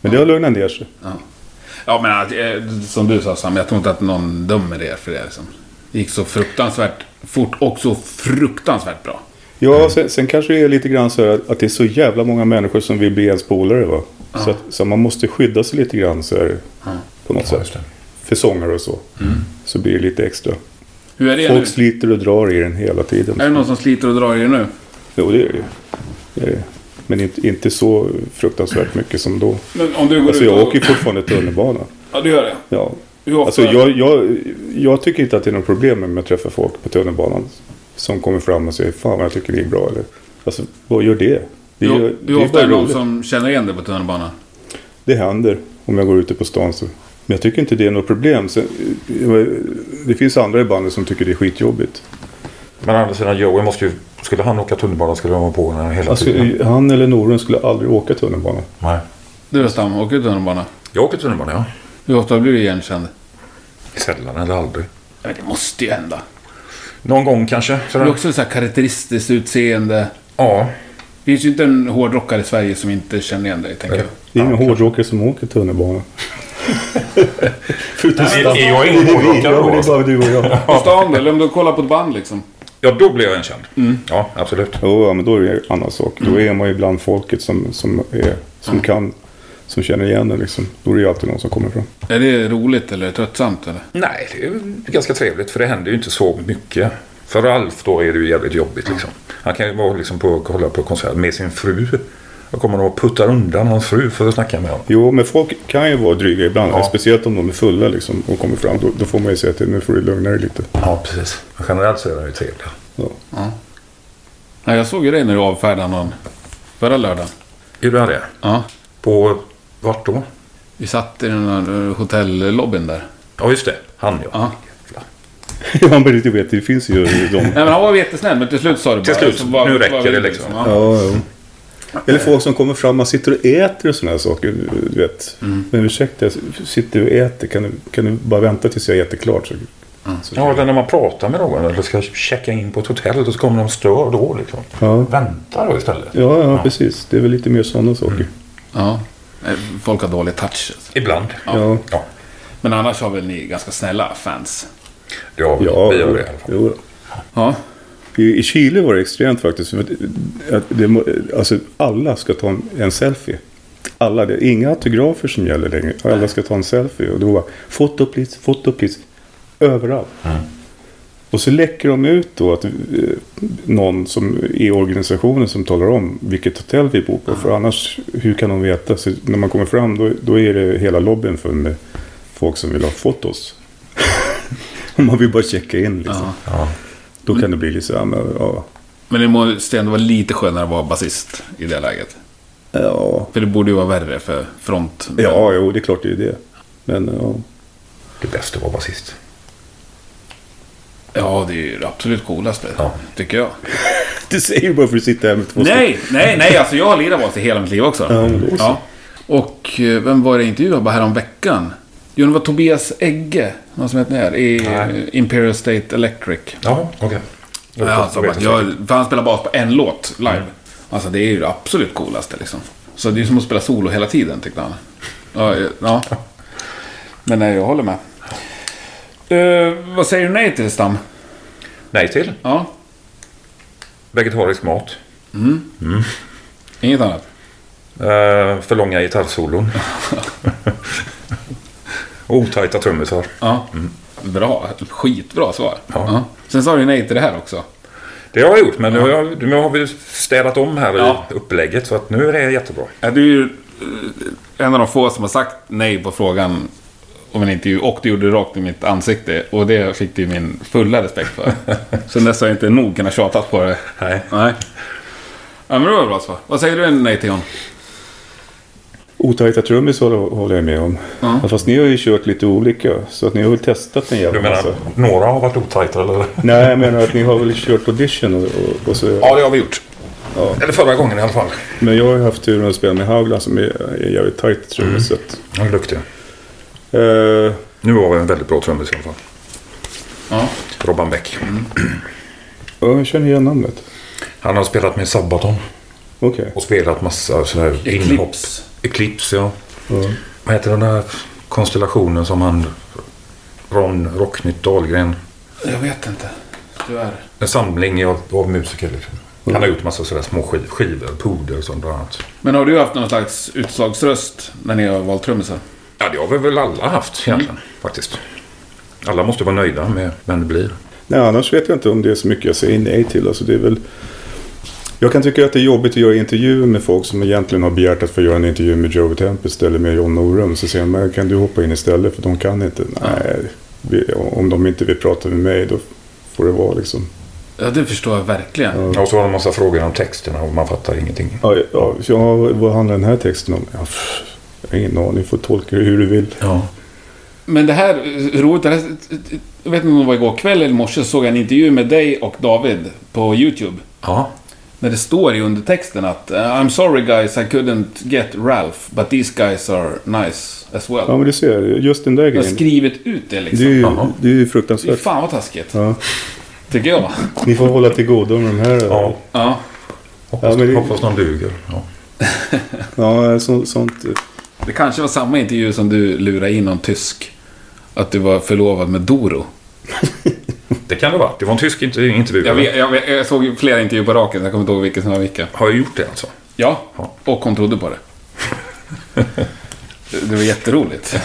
Men det har lugnat ner sig.
Ja men att, eh, som du sa Sam, jag tror inte att någon dömer er för det. Liksom. Det gick så fruktansvärt fort och så fruktansvärt bra.
Ja, sen, sen kanske det är lite grann så här att, att det är så jävla många människor som vill bli ens polare. Va? Så, att, så man måste skydda sig lite grann så här, på något
Ja, just
sätt.
det.
För sångare och så. Så blir det lite extra.
Hur Mm. är det
Folk
nu?
sliter och drar i den hela tiden.
Är det någon som sliter och drar i er nu?
Jo, det är det ju. Det är det. Men inte, inte så fruktansvärt mycket som då.
Men om du går
Alltså
ut
jag
och...
åker ju fortfarande tunnelbana.
Ja, du gör det.
Ja.
Hur ofta?
Alltså jag, jag, jag tycker inte att det är något problem med att träffa folk på tunnelbanan. Som kommer fram och säger fan vad jag tycker det är bra. Eller, alltså vad gör det? Det,
Hur-
gör- det
hur
är bara
ofta är det någon
roligt.
som känner igen dig på tunnelbanan?
Det händer om jag går ute på stan. Så. Men jag tycker inte det är något problem. Sen, eh, det finns andra i bandet som tycker det är skitjobbigt.
Men å andra sidan, Joey måste ju... Skulle han åka tunnelbana skulle de vara på henne hela
Alltså,
tiden.
han eller Norun skulle aldrig åka tunnelbana.
Nej.
Du då Stam, åker du tunnelbana?
Jag åker tunnelbana, ja.
Hur ofta blir du igenkänd?
Sällan eller aldrig.
Ja, men det måste ju hända.
Någon gång kanske.
Du
Sådär.
har också så här karaktäristiskt utseende.
Ja.
Det finns ju inte en hårdrockare i Sverige som inte känner igen dig, tänker jag.
Det är ingen hårdrockare som åker tunnelbana. Förutom
Nej,
Staff.
är jag ingen
Det är vi.
hårdrockare
Ja, men det är
då?
bara du och jag.
På stan eller om du kollar på ett band liksom.
Ja, då blir jag enkänd. Ja, absolut.
Jo, ja, men då är det en annan sak. Då
Mm.
är man ju bland folket som, som, är, som kan, som känner igen en liksom. Då är det ju alltid någon som kommer fram.
Är det roligt eller tröttsamt eller?
Nej, det är ju ganska trevligt för det händer ju inte så mycket. För Ralf då är det ju jävligt jobbigt liksom. Han kan ju vara liksom på, kolla på konsert med sin fru. Jag kommer nog att putta undan hans fru för att snacka med honom.
Jo, men folk kan ju vara dryga ibland.
Ja.
Speciellt om de är fulla liksom och kommer fram. Då, då får man ju säga till nu får du lugna dig lite.
Ja, precis. Men generellt så är han ju trevlig.
Ja.
Ja, jag såg ju dig när du avfärdade någon förra lördagen.
Gjorde han det?
Ja.
På vart då?
Vi satt i den här eh, hotellobbyn där.
Ja, just det. Han ja.
Ja.
Jävlar.
ja, men du vet, det finns ju de.
Nej men han var jättesnäll men till slut sa du bara...
Till slut.
så var-
Nu
var
räcker
vi
det liksom.
Ja.
Ja, ja. Eller folk som kommer fram, man sitter och äter och sådana här saker. Du vet.
Mm.
Men ursäkta, jag sitter och äter. Kan du, kan du bara vänta tills jag äter klart? Så, så
Ja, eller när man pratar med någon eller ska checka in på ett hotell och så kommer de stör då liksom.
Ja.
Vänta då istället.
Ja, ja, precis. Det är väl lite mer sådana saker.
Mm.
ja. Eh, Folk har dålig touch. alltså.
Ibland.
Ja.
Ja,
Men annars har väl ni ganska snälla fans?
ja,
Ja,
vi gör det i alla fall.
Jo.
Ja.
I, I Chile var det extremt faktiskt. För att att det, må- alltså, alla ska ta en, en selfie. Alla, det är inga autografer som gäller längre. Alla ska ta en selfie. Och då var foto please, foto please. Överallt. Och så läcker de ut då att eh, någon som i organisationen som talar om vilket hotell vi bor på. För annars, hur kan de veta? Så när man kommer fram då, då är det hela lobbyn full med folk som vill ha fotos. Och man vill bara checka in liksom.
ja.
Ja.
Då kan det bli lite så här, men, ja.
Men det måste ändå vara lite skönare att vara basist i det läget.
Ja,
För det borde ju vara värre för front.
ja jo, det är klart det är det. Men ja.
Det är bäst att vara basist.
Ja, det är ju det absolut coolaste.
Ja.
Tycker jag.
Du säger ju bara för att sitta här med två
Nej, nej, nej. Alltså jag har lirat bas i hela mitt liv också.
Ja, men då så.
Och eh, vem var det jag intervjuade bara häromveckan? Jo, det var Tobias Egge. Någon som heter det? I
Nej.
eh, Imperial State Electric.
Ja, okej.
Ja, alltså,
Jag vet
jag,
inte.
för han spelar bas på en låt live.
Mm.
Alltså det är ju det absolut coolaste liksom. Så det är ju som att spela solo hela tiden tyckte han. Ja, eh, ja. Men nej, jag håller med. Eh, vad säger du nej till Stam?
Nej till.
Ja,
Vegetarisk mat.
inget annat?
Eh, för långa gitarrsolon. Och Otajta trummisar.
Ja. Mm. Bra, skitbra svar.
Ja.
Sen sa du nej till det här också.
Det har jag gjort, men nu har, jag, nu har vi städat om här
Ja.
i upplägget. Så att nu är det jättebra.
Ja, du är ju eh, en av de få som har sagt nej på frågan om en intervju och du gjorde det rakt i mitt ansikte. Och det fick du ju min fulla respekt för. Sen dess har jag inte nog kunnat tjata på det.
Nej.
Nej. Ja, men det var bra svar. Vad säger du nej till John?
Otajta trummis håller, håller jag med om. Fast ni har ju kört lite olika. Så att ni har väl testat en
Du
jävla
menar,
massa.
några har varit otajta eller?
Nej, jag menar att ni har väl kört audition och, och, och så.
Ja, det har vi gjort. Eller förra gången i alla fall.
Men jag har ju haft turen att spela med Haugland som är, är jävligt tajt
Mm.
trummis. så att,
Han är duktig.
Eh,
Nu var vi en väldigt bra trummis i alla fall.
Ja.
Robban Bäck.
ja, jag känner igen namnet.
Han har spelat med Sabaton
Okej.
och spelat massa sådana här inhopp.
Eclipse. Mm.
Eclipse, ja.
Ja.
Vad heter den där konstellationen som han... Ron Rocknytt Dahlgren.
Jag vet inte. Tyvärr.
En samling av, av musiker liksom.
Mm.
Han har gjort massa sådana små skiv, skivor, puder och sånt bland annat.
Men har du haft någon slags utslagsröst när ni har valt trummisar?
Ja, det har vi väl alla haft egentligen
Mm.
faktiskt. Alla måste vara nöjda med vem det blir.
Nej, annars vet jag inte om det är så mycket jag säger nej till. Alltså, det är väl... Jag kan tycka att det är jobbigt att göra intervjuer med folk som egentligen har begärt att få göra en intervju med Joey Tempest eller med John Norum. Så säger man, kan du hoppa in istället för de kan inte. Nej, vi, om de inte vill prata med mig då får det vara liksom.
Ja, det förstår jag verkligen.
Ja, Och så har de massa frågor om texterna och man fattar ingenting.
Ja, ja, ja, vad handlar den här texten om? Ja, pff, jag har ingen aning, får tolka det hur du vill.
Ja.
Men det här, eh, roligt, det här, eh, jag vet inte om det var igår kväll eller i morse, såg jag en intervju med dig och David på YouTube.
Ja.
När det står i undertexten att eh, I'm sorry guys, I couldn't get Ralph, but these guys are nice as well.
Ja, men du ser, just den där
Jag har
grejen.
skrivit ut det
Det är
liksom.
ju,
Jaha.
det är ju
Fy
fruktansvärt.
fan vad taskigt,
Ja,
tycker jag.
ni får hålla till godo med de här.
ja.
Ja.
Hoppas,
Ja, men det-
hoppas de duger. Ja.
Ja, så, sånt.
Det kanske var samma intervju som du lurade in någon tysk. Att du var förlovad med Doro.
Det kan det vara. Det var en tysk int- intervju.
Jag,
eller?
vet, jag, vet, jag såg ju flera intervjuer på raken, jag kommer inte ihåg vilken som var vilken.
Har jag gjort det alltså?
Ja,
Ja.
och hon trodde på det. Det var jätteroligt.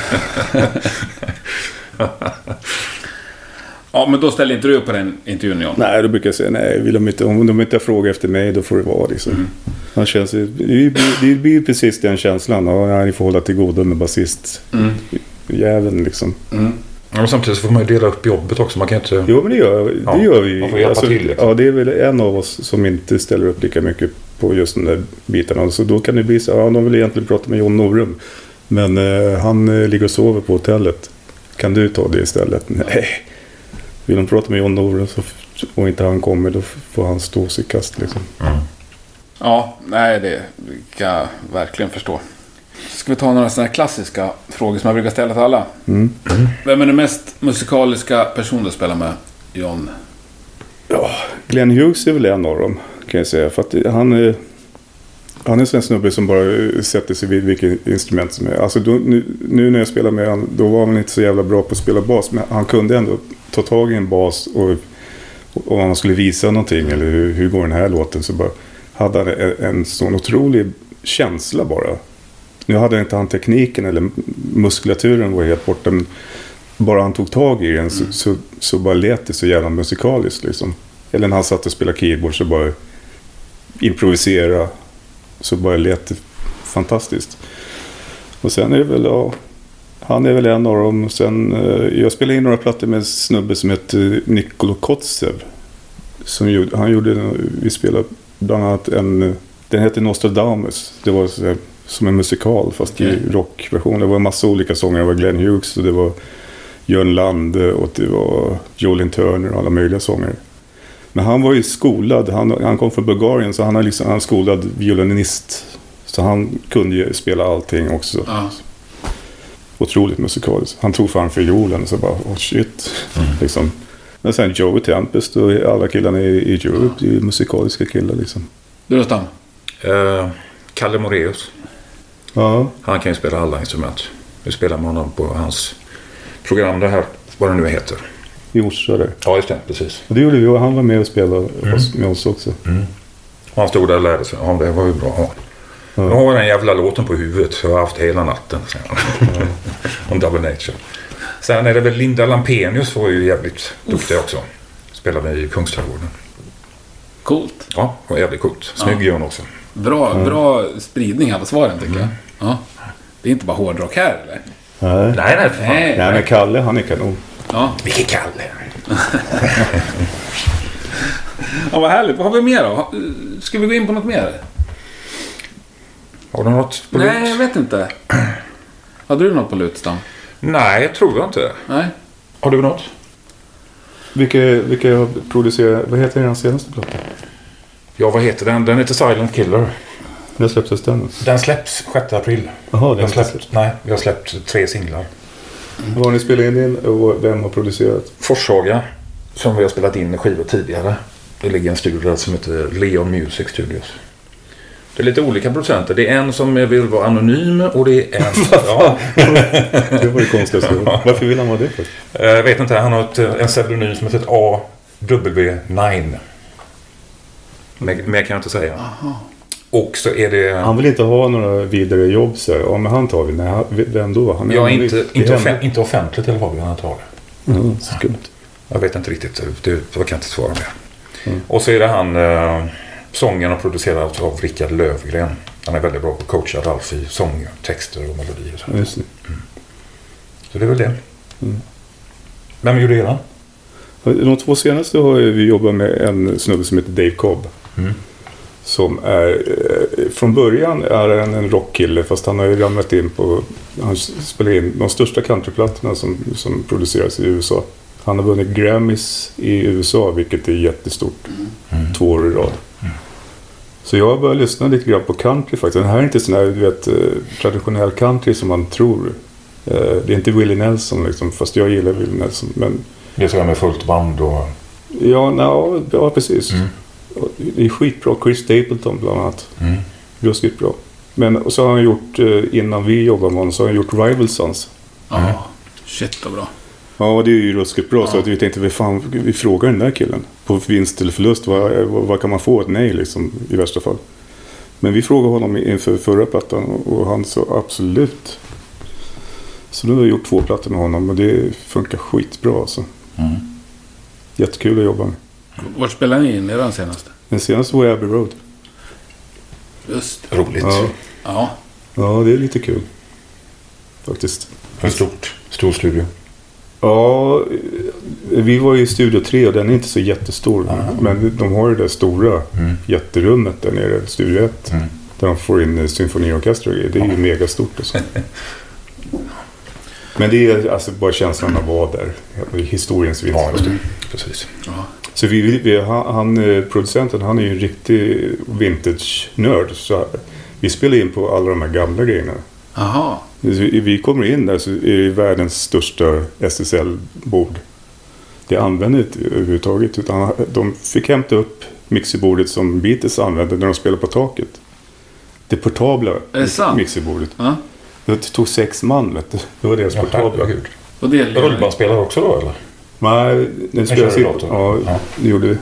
Ja, men då ställde inte du upp på den intervjun, John.
Nej, då brukar jag säga nej. Vill de inte, om de inte frågar efter mig, då får det vara. Liksom.
Mm.
Han känns, ju- det, blir, det blir ju precis den känslan. Ja, nej, ni får hålla till godo med basist.
Mm.
Jäveln liksom.
Ja, men samtidigt så får man ju dela upp jobbet också. Man kan inte...
Jo, men det gör, det
Ja,
gör vi ju.
man får hjälpa till, liksom.
Ja, det är väl en av oss som inte ställer upp lika mycket på just de där bitarna. Så då kan det bli så ja, de vill egentligen prata med John Norum. Men eh, han eh, ligger och sover på hotellet. Kan du ta det istället? Nej. Vill de prata med John Norum så, och inte han kommer, då får han stå sitt kast liksom.
Ja, nej, det kan jag verkligen förstå. Ska vi ta några sådana här klassiska frågor som jag brukar ställa till alla? Vem är den mest musikaliska person du spelar med, John?
Ja, Glenn Hughes är väl en av dem kan jag säga. För att han, är- han är en sån snubbe som bara eh, sätter sig vid vilket instrument som är. Alltså då, nu, nu när jag spelade med honom, då var han inte så jävla bra på att spela bas. Men han kunde ändå ta tag i en bas och och om han skulle visa någonting eller hur, hur går den här låten så bara hade han en, en sån otrolig känsla bara. Nu hade inte han tekniken eller muskulaturen var helt borta men bara han tog tag i den så, så, så bara lät det så jävla musikaliskt liksom. Eller när han satt och spelade keyboard så bara improvisera så bara lät det fantastiskt. Och sen är det väl, ja, han är väl en av dem. Och Sen, eh, jag spelade in några plattor med en snubbe som hette Nikolo Kotsev. Som gjorde, han gjorde, vi spelade bland annat en, eh, den hette Nostradamus. Det var så här, som en musikal fast
Okej.
i rockversion. Det var en massa olika sånger. Det var Glenn Hughes och det var Jörn Lande och det var Jolin Turner och alla möjliga sånger. Men han var ju skolad, han, han kom från Bulgarien så han är liksom, han är skolad violinist. Så han kunde ju spela allting också.
Ja.
Otroligt musikaliskt. Han tog fram fiolen och så bara, oh shit. Liksom. Men sen Joey Tempest och alla killarna i, i Europe, det är ju musikaliska killar liksom.
Du då, Stam?
Eh, Kalle Moreus.
Ja,
Han kan ju spela alla instrument. Vi spelar med honom på hans program det här. Vad det nu heter.
i Orsa där.
Ja, just det. Precis.
Och det gjorde vi och han var med och spelade oss, med oss också.
Och han stod där och lärde sig. Ja, det var ju bra. Ja. Nu har jag den jävla låten på huvudet. så Jag har haft hela natten. säger han. Om Double Nature. Sen är det väl Linda Lampenius var ju jävligt duktig också. Spelade i Kungsträdgården.
Coolt.
Ja, det var jävligt coolt. Snygg gör hon också.
Bra, bra spridning här på svaren tycker jag. Ja. Det är inte bara hårdrock här eller?
Nej.
Nej, nej, för fan.
Nej.
Nej, men Kalle han är kanon.
Ja.
Vilken Kalle.
ja, vad härligt. Vad har vi mer då? Ha- eh, Ska vi gå in på något mer?
Har du något på
Nej, jag
lut?
vet inte. Hade du något på lutstam?
Nej, jag tror jag inte.
Nej.
Har du något?
Vilka, vilka har producerat... Vad heter den senaste platta?
Ja, vad heter den? Den heter Silent Killer.
När släpptes den?
Den släpps 6 april.
Jaha,
Vi har
den släpptes.
släppt, nej, vi har släppt tre singlar.
Vad har ni spelat in den och vem har producerat?
Forshaga, som vi har spelat in skivor tidigare. Det ligger en studio där som heter Leon Music Studios. Det är lite olika producenter. Det är en som vill vara anonym och det är en... ja,
Det var det konstigaste. Varför vill han vara det för?
jag Eh, vet inte, han har ett, en pseudonym som heter AW9. Mer, mer kan jag inte säga. Och så är det...
Han vill inte ha några vidare jobb så här. Ja, men han tar vi. Nej, han- vem då? Han
jag är
en
inte,
riktig
inte,
hemlig.
offen, inte offentligt i alla fall vill han ta det.
Mm, skumt.
Jag vet inte riktigt. eh, Det, jag kan inte svara mer.
Mm.
Och så är det han, eh, sången och producerad av Rickard Lövgren. Han är väldigt bra på att coacha Ralf i sång, texter och melodier. och så.
Ja, just det.
Så det är väl det.
Mm.
Vem gjorde eran?
De två senaste har ju vi jobbat med en snubbe som heter Dave Cobb. Som är, eh, från början är han en rockkille fast han har ju ramlat in på, han spelar in de största countryplattorna som, som produceras i USA. Han har vunnit Grammys i USA vilket är jättestort. Två år i rad. Så jag började lyssna lite grann på country faktiskt. Den här är inte sån här du vet, eh, traditionell country som man tror. Eh, Det är inte Willie Nelson liksom, fast jag gillar Willie Nelson. Men
Det såg jag med fullt band och...
Ja, no, ja precis. Det är skitbra. Chris Stapleton bland annat.
Mm.
Ruskigt bra. Men och så har han gjort, eh, innan vi jobbade med honom, så har han gjort Rival Sons.
Ja. Shit vad bra.
Ja, och det är ju ruskigt bra. Så att vi tänkte, vi, fan, vi frågar den där killen. På vinst eller förlust, vad, vad, vad kan man få? Ett nej liksom, i värsta fall. Men vi frågade honom inför förra plattan och han sa absolut. Så nu har vi gjort två plattor med honom och det funkar skitbra alltså. Jättekul att jobba med.
Vart spelade ni in eran senaste?
Den senaste var Abbey Road.
Just det.
Roligt.
Ja.
Ja.
Ja, det är lite kul. Faktiskt.
En stort, stor studio.
Ja, vi var ju i Studio 3 och den är inte så jättestor. Men de har ju det där stora
Mm.
jätterummet där nere, Studio 1. Där de får in eh, symfoniorkester och grejer. Det är ju megastort och så. Men det är alltså bara känslan av att vara där. Historiens vinst.
Ja, just det. Precis.
Så vi, vi- vi, han, han, eh, producenten, han är ju en riktig vintage-nörd. Så vi spelar in på alla de här gamla grejerna.
Aha.
Vi vi kommer in där så är det världens största SSL-bord. Det använder inte överhuvudtaget. Utan de fick hämta upp mixerbordet som Beatles använde när de spelade på taket. Det portabla
Är det sant?
mixerbordet.
Ja.
Det tog sex man vet du. Det var deras portabla.
herregud.
Och det
Rullbandsspelare också då eller?
Nej, den spelades
körde
in.
datorn.
Ja,
Ja. Mm.
det gjorde vi.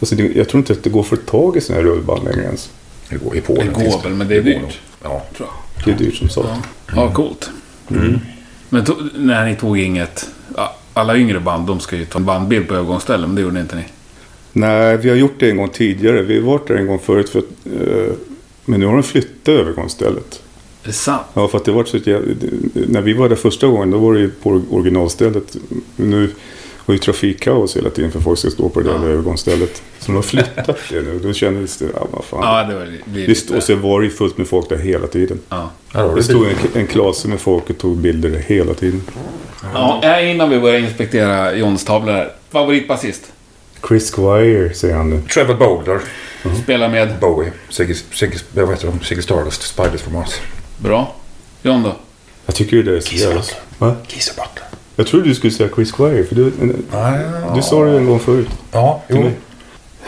Alltså, det, jag tror inte att det går för tag i sådana här rullband längre ens.
Det går i Polen.
Det går
finns
väl, men det är
går
dyrt.
nog. Ja.
Det är dyrt som satan.
Ja, ja coolt. Men to- när ni tog inget... ja, Alla yngre band, de ska ju ta en bandbild på övergångsställen, men det gjorde inte ni.
Nej, vi har gjort det en gång tidigare. Vi har varit där en gång förut. För, att, eh, men nu har de flyttat övergångsstället.
Är det sant?
Ja, för att det var så att jag, När vi var där första gången, då var det ju på originalstället. Nu var ju trafikkaos hela tiden för folk ska stå på det där övergångsstället. Så de har flyttat det nu. Då kändes det, ja vad fan.
Ja, det var det blir
Visst,
lite-
och sen var det ju fullt med folk där hela tiden.
Ja.
Här har
Det
du
stod
bil.
en, en klase med folk och tog bilder hela tiden.
Ja, äh, innan vi börjar inspektera Johns tavlor här. Favoritbasist?
Chris Squire, säger han nu.
Trevor Boulder.
Spelar med?
Bowie. Ziggy, Ziggy, vad heter de? Ziggy Stardust. Spiders from Mars.
Bra. John då?
Jag tycker ju det är så
Kiss
jävla...
Rock.
Va?
Geezer Butler.
Jag trodde du skulle säga Chris Squire, för du, du sa det en gång förut.
Ja, jo.
mig.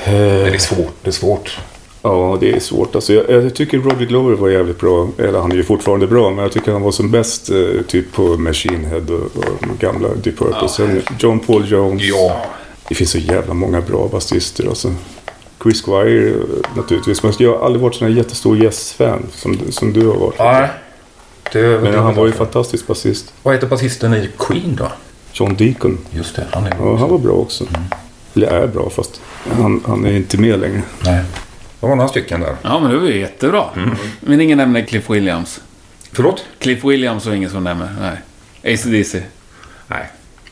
Men det är svårt. Det är svårt.
Ja, det är svårt. Alltså, jag, jag tycker Robbie Glover var jävligt bra. Eller han är ju fortfarande bra, men jag tycker han var som bäst eh, typ på Machine Head och, och de gamla Deep Purple. Sen John Paul Jones.
Ja.
Det finns så jävla många bra basister alltså. Chris Squire eh, naturligtvis. Men jag har aldrig varit sån här jättestor Yes-fan som, som du har varit.
Nej. Det,
Men
det-
han var ju fantastisk basist.
Vad heter basisten i Queen då?
John Deacon.
Just det, han är
Ja, han var bra också. Eller är bra, fast han, han är inte med längre.
Nej. Det var några stycken där.
Mm. Ja, men det var ju jättebra. Men ingen nämner Cliff Williams.
Förlåt?
Cliff Williams och ingen som nämner. Nej. ACDC.
Nej.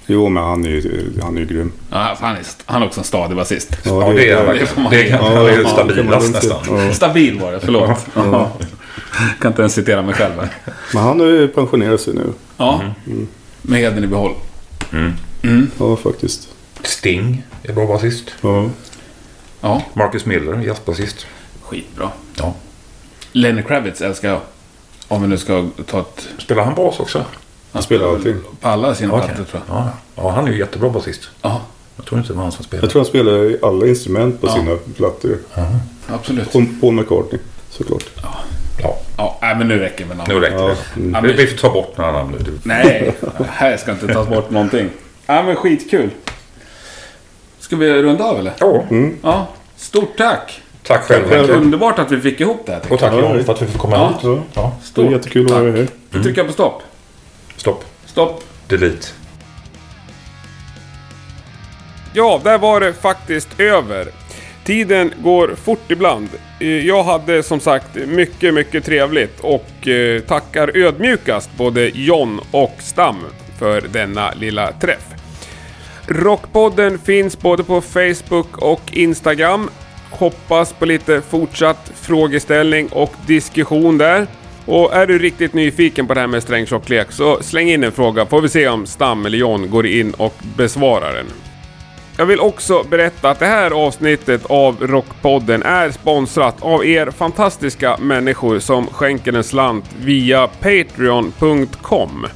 Jo, men han är ju, han är ju grym.
Ja, fan, han, är st- han är också en stadig basist.
Ja, det är han
får
verkligen.
man
Det
ge.
är han är
Ja, kan man
stabilast
lugnt säga.
nästan.
Ja.
Stabil var det, förlåt. Ja. Kan inte ens citera mig själv här.
Men han har ju pensionerat sig nu.
Ja. Med hedern i behåll.
Ja, faktiskt.
Sting är bra basist.
Ja.
Ja,
Marcus Miller, jazzbasist.
skitbra.
Ja.
Lenny Kravitz älskar jag. Om vi nu ska ta ett...
Spelar han bas också?
Han
spelar allting.
På alla sina
Okej.
plattor tror jag.
Ja. ja, han är ju jättebra basist.
Ja,
Jag tror inte det var han som spelade.
Jag tror han spelar i alla instrument på sina plattor.
absolut.
Paul, Paul McCartney, såklart.
Ja,
Ja, nej, men nu räcker det med namn.
nu räcker
Ja.
det.
Mm.
Ja, men Vi får ta bort några namn nu.
Nej, här ska inte tas bort någonting. Ja, men skitkul. Ska vi runda av eller?
Ja,
Mm.
Ja. Stort tack!
tack själv Henke.
Underbart att vi fick ihop det här. tycker
Och tack
Ja,
Jan
det-
för att vi fick komma
Ja.
hit.
Ja.
Ja.
jag.
Det
Stort
är jättekul att
tack.
vara här.
Trycka på stopp.
Stopp.
Stopp.
Delete.
Ja, där var det faktiskt över. Tiden går fort ibland. Eh, Jag hade som sagt mycket, mycket trevligt och eh, tackar ödmjukast både John och Stam för denna lilla träff. Rockpodden finns både på Facebook och Instagram. Hoppas på lite fortsatt frågeställning och diskussion där. Och är du riktigt nyfiken på det här med sträng tjocklek så släng in en fråga får vi se om Stam eller John går in och besvarar den. Jag vill också berätta att det här avsnittet av Rockpodden är sponsrat av er fantastiska människor som skänker en slant via Patreon.com.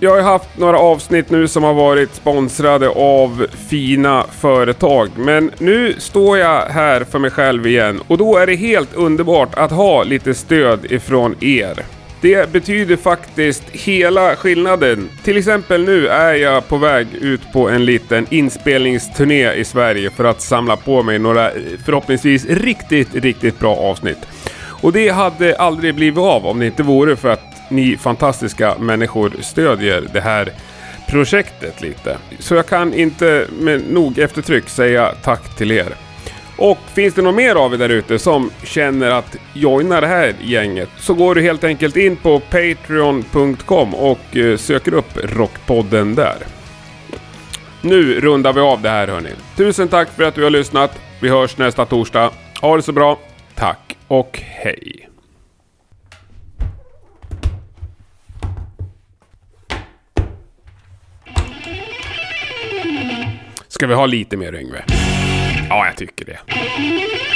Jag har ju haft några avsnitt nu som har varit sponsrade av fina företag, men nu står jag här för mig själv igen och då är det helt underbart att ha lite stöd ifrån er. Det betyder faktiskt hela skillnaden. Till exempel nu är jag på väg ut på en liten inspelningsturné i Sverige för att samla på mig några eh, förhoppningsvis riktigt, riktigt bra avsnitt. Och det hade aldrig blivit av om det inte vore för att ni fantastiska människor stödjer det här projektet lite. Så jag kan inte med nog eftertryck säga tack till er. Och finns det någon mer av er där ute som känner att joina det här gänget så går du helt enkelt in på Patreon.com och eh, söker upp Rockpodden där. Nu rundar vi av det här hörni. Tusen tack för att du har lyssnat. Vi hörs nästa torsdag. Ha det så bra. Tack och hej. Ska vi ha lite mer Yngve? Ja, jag tycker det.